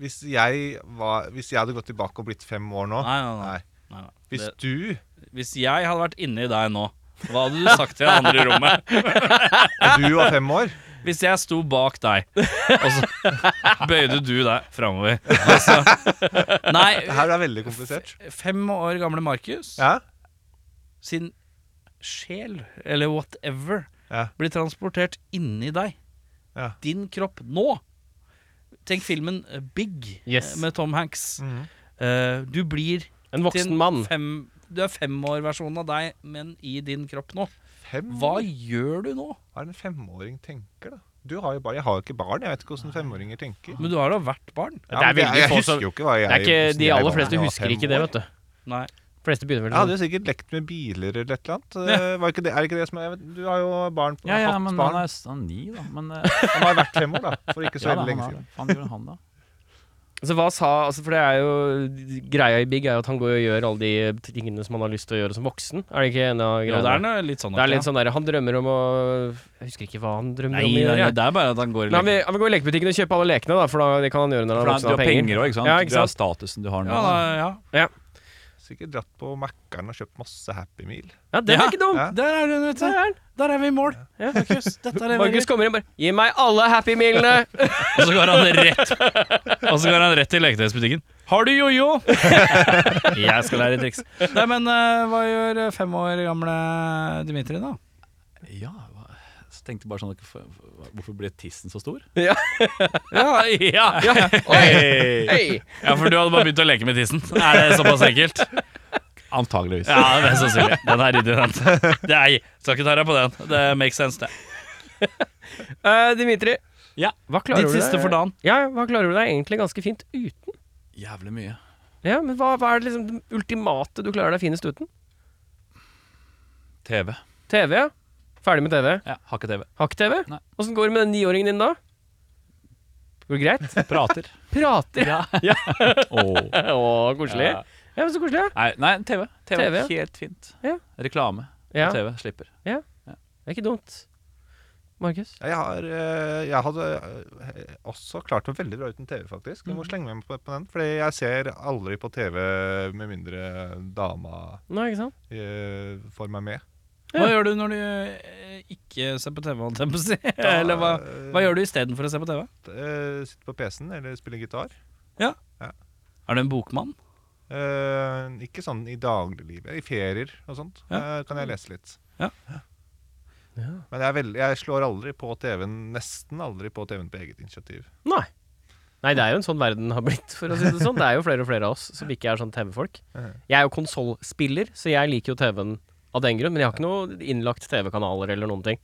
Hvis jeg, var, hvis jeg hadde gått tilbake og blitt fem år nå
Nei, nei, nei.
Nei.
Nei, nei.
Hvis
Det-
du
Hvis jeg hadde vært inni deg nå, hva hadde du sagt til det andre rommet?
Og du var fem år
Hvis jeg sto bak deg, og så bøyde du deg framover altså,
Det
Nei,
her er veldig komplisert.
fem år gamle Markus
Ja?
sin sjel, eller whatever,
Ja.
blir transportert inni deg.
Ja.
Din kropp nå. Tenk filmen eh, Big
Yes.
eh, med Tom Hanks.
Mhm.
Eh, du blir
En
til
voksen
en
mann.
Fem, du er femårversjonen av deg, men i din kropp nå.
Fem?
Hva gjør du nå?
Hva er det en femåring tenker, da? Du har jo barn. Jeg har jo ikke barn. Jeg vet ikke hvordan femåringer tenker.
Men du har da vært barn.
Ja,
Det er
men
veldig
jeg
få
husker
som-
jo ikke hva jeg
Det er ikke,
hvordan
de
jeg
aller
var da
fleste
jeg var
husker
fem
ikke det,
år.
vet du.
Nei.
De fleste begynner vel
Jeg hadde
sånn.
jo sikkert lekt med biler eller et eller annet. Eh, Var ikke det, er det ikke det som er Du har jo barn på
Ja ja,
hatt
men han
barn.
er, han er ni, da. Men eh,
Han har vært fem år, da. For ikke så
ja, da,
veldig
han
lenge
er
siden.
det. Faen gjorde han da?
Altså, hva sa, altså, for det er jo Greia i Big er jo at han går og gjør alle de tingene som han har lyst til å gjøre som voksen. Er det ikke en av
Jo,
greiene?
det er noe litt sånn.
Det er litt sånn der, Han drømmer om å Jeg husker ikke hva han drømmer om.
Nei,
å
nei,
gjøre.
det er bare at han går i
Men han vil, han vil gå i lekebutikken og kjøpe alle lekene, da, for da, det kan han gjøre når han
For
er
han, du
voksen og
har
har penger.
penger òg, ikke sant?
Ja, ikke
Du har statusen du har nå.
Ja, da, ja.
Sikkert dratt på Mækkern og kjøpt masse Happy Meal.
Ja, det er
Ja.
ikke dumt!
Ja.
Der er hun, vet
Der
du.
er den.
Der er vi i mål.
Ja.
Markus, dette er det vi
Markus kommer inn bare 'Gi meg alle Happy Mealene!'
Og så går han rett Og så går han rett til leketøysbutikken. Har du jojo? Jeg skal lære triks. Nei, men eh, hva gjør fem år gamle Dimitri, da?
Ja, hva- så tenkte jeg bare sånn hvorfor- Hvorfor ble tissen så stor?
Ja, ja.
Hey!
Hei!
for du hadde bare begynt å leke med tissen. Er det såpass enkelt?
Antageligvis.
Ja, det er mest sannsynlig. Den er ryddig, den. Nei, skal ikke ta deg på den. Det makes sense, det.
Eh, Dimitri,
Ja.
hva klarer
Ditt
du
siste
deg?
for dagen.
Ja, hva klarer du deg egentlig ganske fint uten?
Jævlig mye.
Ja, men hva, hva er det liksom det ultimate du klarer deg finest uten?
TV.
TV, ja. Ferdig med TV.
Ja, har ikke TV.
Har ikke TV?
Nei.
Åssen går det med den niåringen din da? Går det greit?
Prater.
Prater?
Ja. Åh.
Å, koselig. Ja.
Ja.
men så koselig. ja.
Nei, nei, TV. TV.
TV.
Helt fint.
Ja.
Reklame på
Ja,
TV. Slipper.
det er ikke dumt. Markus?
Jeg, har, eh, jeg hadde eh, også klart meg veldig bra uten TV, faktisk. Du må
Mm.
slenge meg med på, på den. Fordi jeg ser aldri på TV med mindre dama
Nei, ikke sant?
eh, får meg med.
Hva gjør du når du eh, ikke ser på TV, holdt jeg på å si? Eller hva, hva gjør du istedenfor å se på TV?
Eh, sitter på PC-en eller spiller gitar.
Er du en bokmann?
Eh, ikke sånn i dagliglivet. I ferier og sånt
Ja.
eh, kan jeg lese litt.
Ja.
Men jeg, er veld, jeg slår aldri på TV-en, nesten aldri på TV-en på eget initiativ.
Nei. Nei, det er jo en sånn verden har blitt, for å si det sånn. Det er jo flere og flere av oss som ikke er sånn TV-folk. Jeg er jo konsollspiller, så jeg liker jo TV-en av den grunn, men jeg har ikke noe innlagt TV-kanaler eller noen ting.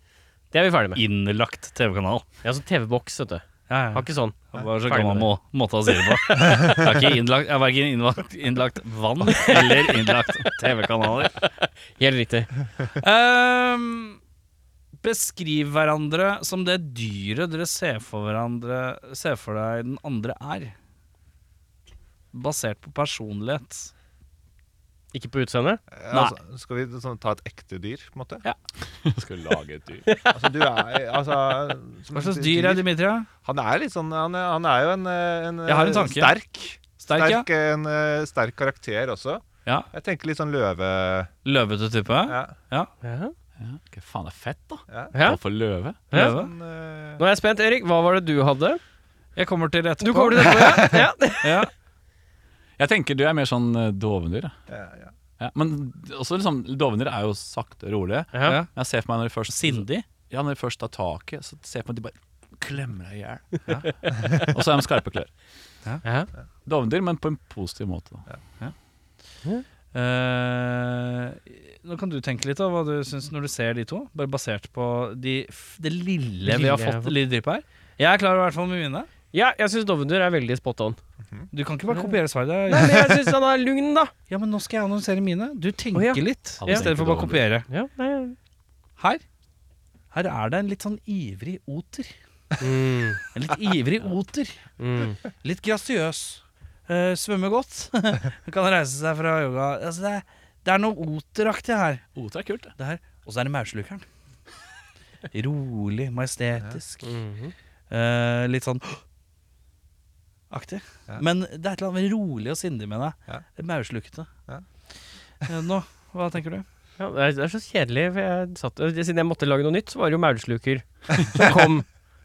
Det er vi ferdig med.
Innlagt TV-kanal.
Jeg har sånn TV-boks, vet du.
Ja,
Har ikke sånn.
Det var så
Ferdig
gammel
med
må, måte å si det på. Jeg har ikke innlagt, jeg har verken innlagt, innlagt vann eller innlagt TV-kanaler.
Helt riktig.
Ehm, beskriv hverandre som det dyret dere ser for hverandre Ser for deg den andre er. Basert på personlighet.
Ikke på utseendet.
Eh,
Nei.
Altså, skal vi sånn, ta et ekte dyr, på en måte?
Ja.
Skal lage et dyr.
Altså, du er, altså, som
Hva slags
et
dyr er Dimitria?
Han er litt sånn Han er, han er jo en, eh, en
Jeg har en
eh,
tanke.
sterk
Sterk, ja.
sterk, eh, en, eh, sterk karakter også.
ja.
Jeg tenker litt sånn løve...
Løvete type.
Ja,
Ja.
Ja, hva faen det er fett, da?
ja.
Ja.
Hva for løve?
Løve.
Sånn, eh,
Nå er jeg spent, Erik. Hva var det du hadde?
Jeg kommer til det etterpå.
Du kommer til dette, ja. ja.
ja.
Jeg tenker du er mer sånn eh, dovendyr. da.
ja, ja.
Ja, men også liksom, dovendyr er jo sakte og rolig.
Ja.
Ja.
Jeg ser for meg når de først
Sindig.
Ja, når de først tar taket, så ser jeg for meg at de bare klemmer deg i hjel. og så er de skarpe klør.
Ja.
Dovendyr, men på en positiv måte. Da.
Eh, nå kan du tenke litt av hva du syns når du ser de to. Bare basert på de, f- det lille vi har
Lille jeg har
fått lille drypp her. Jeg er klar i hvert fall med mine.
ja, jeg syns dovendyr er veldig spot on.
Du kan ikke bare kopiere svaret.
Nei,
det er-
men jeg syns han er lugn, da.
Ja, men nå skal jeg annonsere mine. Du tenker
Å, ja.
litt
Alle
i stedet
tenker
for bare
dårlig.
kopiere.
Ja, nei.
Her Her er det en litt sånn ivrig oter.
Mm.
En litt ivrig oter.
Mm.
Litt grasiøs. Eh, svømmer godt. kan reise seg fra yoga. Altså, det, er, det er noe oteraktig her.
Oter er kult, det.
det her. Og så er det maurslukeren. Rolig, majestetisk.
Mhm.
Eh, litt sånn aktig.
Ja.
Men det er et eller annet rolig og sindig med deg.
Ja.
Det Maurslukete.
Ja.
Eh, nå, hva tenker du?
Ja, det er- det er så kjedelig, for jeg satt, eh, siden jeg måtte lage noe nytt, så var det jo maursluker som kom.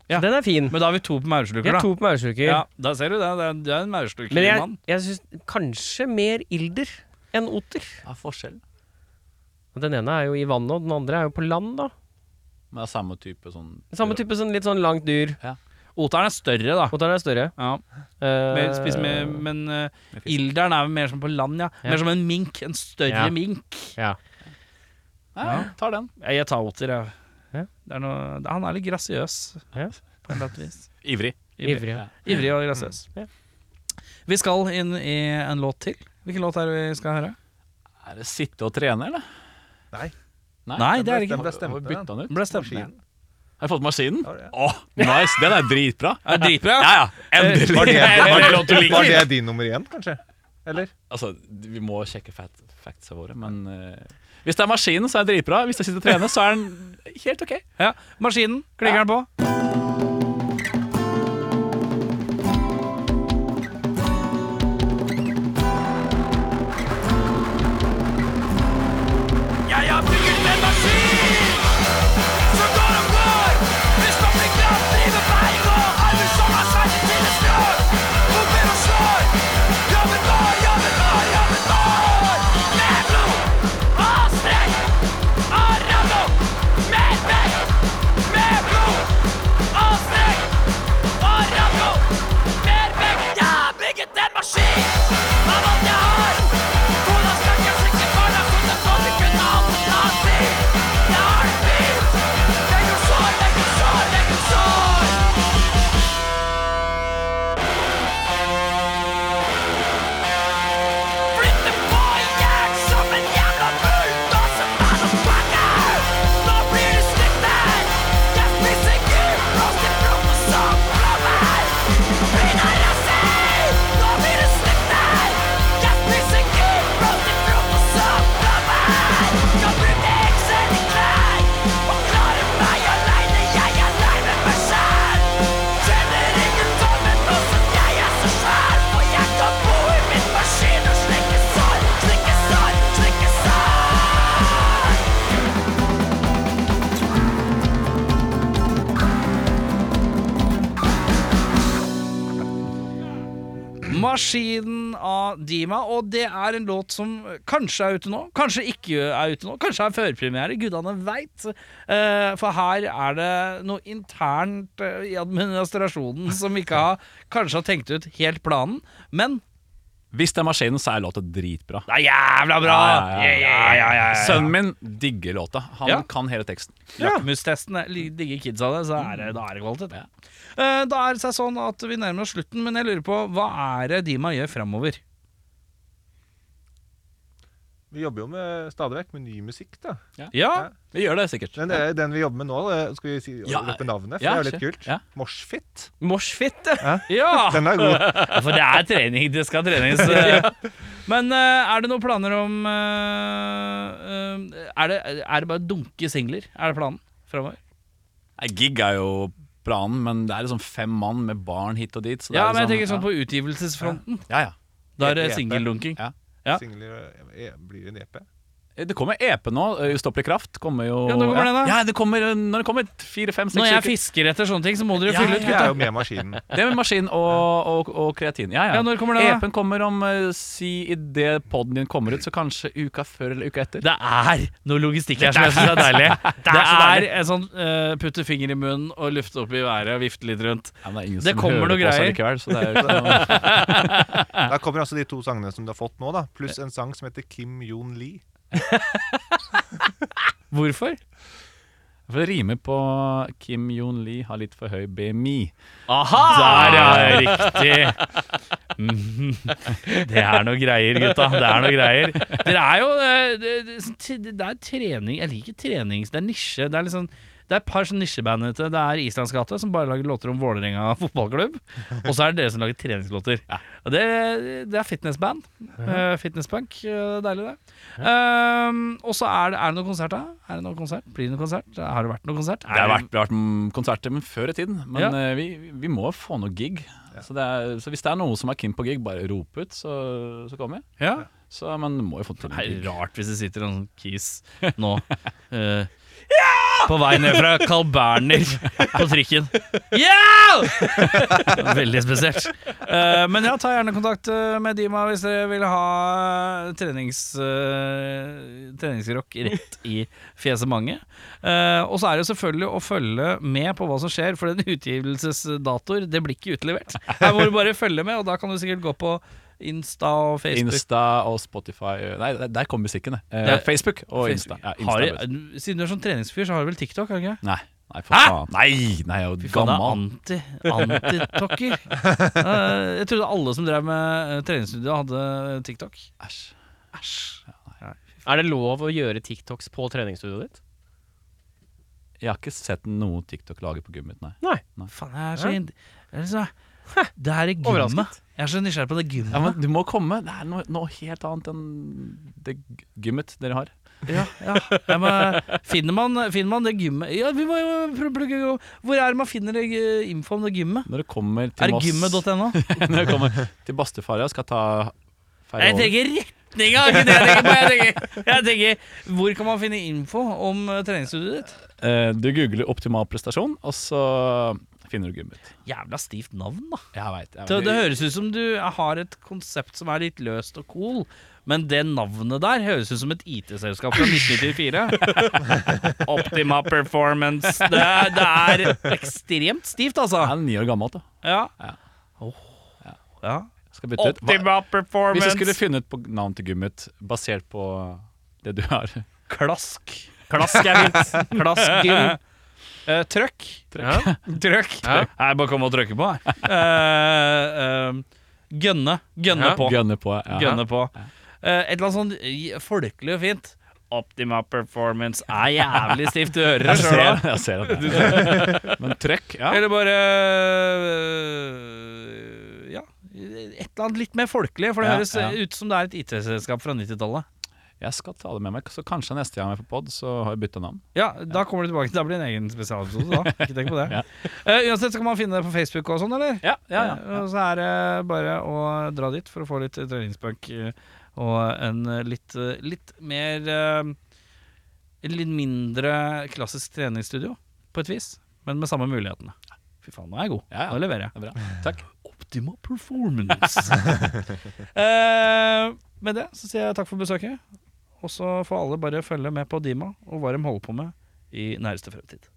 Ja.
Så Den er fin.
Men da har vi to på maursluker,
Jeg
da.
tok på maursluker.
Ja, da ser du det. Det er, det er en
Men jeg,
maurslukermann.
jeg syns kanskje mer ilder enn oter.
Ja, forskjell.
Den ene er jo i vannet, og den andre er jo på land, da.
Men det er samme type sånn
Samme type sånn litt sånn langt dyr.
Oteren er større, da.
Oteren er større.
Ja,
Eh,
mer, spis med, men eh,
Med fisk.
ilderen er mer som på land, ja.
Ja.
Mer som en mink. En større
Ja.
mink.
ja.
Ja, ja, tar den.
Jeg, jeg tar oter, jeg.
Ja.
Det er noe, han er litt grasiøs,
Ja.
på et eller annet vis.
Ivrig.
Ivrig.
Ivrig. ja.
Ivrig og grasiøs.
Ja.
Vi skal inn i en låt til. Hvilken låt er det vi skal høre?
Er det sitte og trene, eller?
Nei.
Nei,
Nei,
den
det er det
ble-
ikke.
den ble stemt
Har vi
ned,
byttet
den.
den ut?
Den ble stemt ned.
Maskinen.
Har jeg fått maskinen?
Ja, det er.
Åh, nice! Den er dritbra!
Er det dritbra?
Ja, ja! Endelig!
Var det,
Det er
var,
låt du
det,
liker.
var det din nummer én, kanskje? Eller?
Altså, vi må sjekke fat factsa våre, men eh, Hvis det er maskinen, så er det dritbra. Hvis det sitter og trener, så er den helt ok.
Ja. Maskinen. Klikker den på.
Jeg har bygget en maskin som går og går. Hvis man blir glatt, driver bein og armer som er sverdet til en skrår. Pumper og slår. Jobben vår, jobben vår, jobben vår. Med blod og strekk og ramlo. Med vekt, med blod
Maskinen av Dima, og det er en låt som kanskje er ute nå, kanskje ikke er ute nå, kanskje er førpremiere, gudene veit. Eh, for her er det noe internt eh, i administrasjonen som ikke har kanskje har tenkt ut helt planen, men
Hvis det er maskinen, så er låta dritbra.
det er jævla bra!
Ja, ja, ja.
Ja, ja, ja, ja.
Sønnen min digger låta. Han
Ja.
kan hele teksten.
Lakmustesten er- li- digger kidsa det, så er det, da er det kvalitet. Eh, da er det seg sånn at vi nærmer oss slutten, men jeg lurer på hva er det Dima gjør framover?
Vi jobber jo med, stadig vekk med ny musikk, da.
Ja,
Vi gjør det sikkert.
Men det er den vi jobber med nå, det- skal vi si
Ja,
rope navnet? For
ja,
det er jo litt
kjør.
kult.
Ja.
Moshfit.
moshfit. Ja!
Den er god.
For det er trening, det skal trenes. Men eh, er det noen planer om eh, eh, er, det, er det bare å dunke singler? Er det planen framover?
Nei, Gig er jo planen, men det er liksom fem mann med barn hit og dit. Så det
Ja,
er
men jeg tenker sånn
liksom-
på utgivelselsfronten.
ja. ja, ja.
Da er det
EP.
singeldunking.
Ja.
Ja.
Singler, eh, blir det en EP?
Det kommer EP nå. eh, Ustoppelig kraft kommer jo
Ja, når kommer
ja.
den da?
Ja, det kommer eh, når det kommer fire, fem, seks
Når jeg
uker.
fisker etter sånne ting, så må dere
Ja,
fylle ut,
Jeg er jo
gutta.
med maskinen.
Det med maskin og, og, og kreatin. Ja, ja.
Ja, når kommer den da?
EP-en kommer om eh, Si idet poden din kommer ut, så kanskje uka før eller uka etter.
Det er noe logistikk her som jeg syns er deilig. Det er en sånn eh, putte finger i munnen og lufte opp i været og vifte litt rundt.
Ja, men det er ingen
Det
som
kommer
hører
noe
på oss
greier.
allikevel, så det er jo ikke noe-
Da kommer altså de to sangene som du har fått nå, da. Pluss en sang som heter Kim Jon Lee.
Hvorfor?
For det rimer på Kim Jong-li har litt for høy BMI.
Aha! Der, ja, riktig. Mhm. Det er noe greier, gutta. Det er noe greier. Dere er jo eh, Det, det, sånn t- det er trening Jeg liker trenings... Det er nisje. Det er liksom det er et par sånne nisjeband ute. Det er Islandsgata, som bare lager låter om Vålerenga fotballklubb. Og så er det dere som lager treningslåter. Og det, det er fitnessband. Eh, Fitnesspunk. eh, Deilig, det. Ehm, og så er det, er det noen konsert, da? Er det noen konsert? Blir det noen konsert? Har det vært noen konsert?
Det har vært, det har vært mm, konserter men før i tiden, men
Ja.
eh, vi, vi må få noe gig. Så, det er, så hvis det er noen som er keen på gig, bare rop ut, så, så kommer jeg.
Ja.
Så, men du må jo få til
Det er
en gig.
rart hvis det sitter en sånn kis nå eh, På vei ned fra Carl Berner på trikken. Ja! Veldig spesielt. Eh, men ja, ta gjerne kontakt eh, med Dima hvis dere vil ha trenings, eh, treningsrock rett i fjeset mange. Eh, og så er det jo selvfølgelig å følge med på hva som skjer, for den utgivelsesdatoer, det blir ikke utlevert. Her må du bare følge med, og da kan du sikkert gå på Insta og Facebook.
Insta og Spotify eh, Nei, der, der kom musikken, det. Eh,
Ja.
Facebook og Insta. Ja, Insta
har,
vet du.
siden du er sånn treningsfyr, så har du vel TikTok? har du ikke?
Nei, nei, for faen. Nei, nei, jeg er jo
Faen, det er
gammel.
anti, anti-tokker. Eh, jeg trodde alle som drev med eh, treningsstudio, hadde TikTok.
Æsj.
Er det lov å gjøre TikToks på treningsstudioet ditt?
Jeg har ikke sett noe TikTok lage på gymmet mitt, nei.
Faen, jeg er så ind... jeg er så- Det her er gymmet.
Overrasket.
Jeg er så nysgjerrig på det gymmet.
Ja, men du må komme. Det er noe, noe helt annet enn det g- gymmet dere har.
Ja, ja. Ja, men finner, man, finner man det gymmet Ja, vi må jo prøve å plukke- Hvor er det man finner det, eh, info om det gymmet?
Når det kommer
Er
til
det
Moss
gymmet.no?
Når det kommer til Bastefar, ja, skal ta feire
Jeg
over.
tenker retninga, ikke det jeg tenker på. Jeg tenker, jeg tenker Hvor kan man finne info om eh, treningsstudioet ditt?
Eh, Du googler 'optimal prestasjon', og så finner du gymmet.
Jævla stivt navn, da.
Jeg veit.
Det, det høres ut som du har et konsept som er litt løst og cool, men det navnet der høres ut som et IT-selskap fra 1994. Optima Performance. Det, er- det er ekstremt stivt,
Jeg
altså.
er ni år gammel, da.
Ja.
Ja.
Åh. ja.
Skal bytte ut. Hva,
Optima
hvis jeg
Performance.
skulle funnet på navn til gymmet basert på det du har
Klask. Klask er fint. Klask gym. Eh, trøkk.
Ja.
Trøkk.
Ja.
Nei, bare kom og trykke på. jeg. Eh, eh, gønne. Gønne
Ja.
på.
Gunne på. Ja.
gønne på. Eh, et eller annet sånn eh, folkelig og fint. Optima performance er jævlig stivt. Du hører det
Jeg
sjøl
ser,
òg.
jeg ser at det er. Men trøkk, ja.
Eller bare eh, Ja. Et eller annet litt mer folkelig, for det
Ja,
høres eh,
ja.
ut som det er et IT-selskap fra 90-tallet.
Jeg skal ta det med meg, så kanskje neste gang jeg er på pod, så har jeg bytta navn.
Ja, da kommer du tilbake. Da blir det en egen spesialepisode. da. Ikke tenk på det. Eh, uansett, så kan man finne det på Facebook og sånn, eller?
Ja, ja, ja.
Eh, og så er det bare å dra dit for å få litt treningspunk eh, og en eh, litt, eh, litt mer eh, En litt mindre klassisk treningsstudio, på et vis, men med samme mulighetene. Fy faen, nå er jeg god.
Ja, ja.
Nå leverer jeg.
Det er bra. Takk.
Optima Performance.
Eh, med det så sier jeg takk for besøket. Og så får alle bare følge med på Dima og hva de holder på med i næreste fremtid.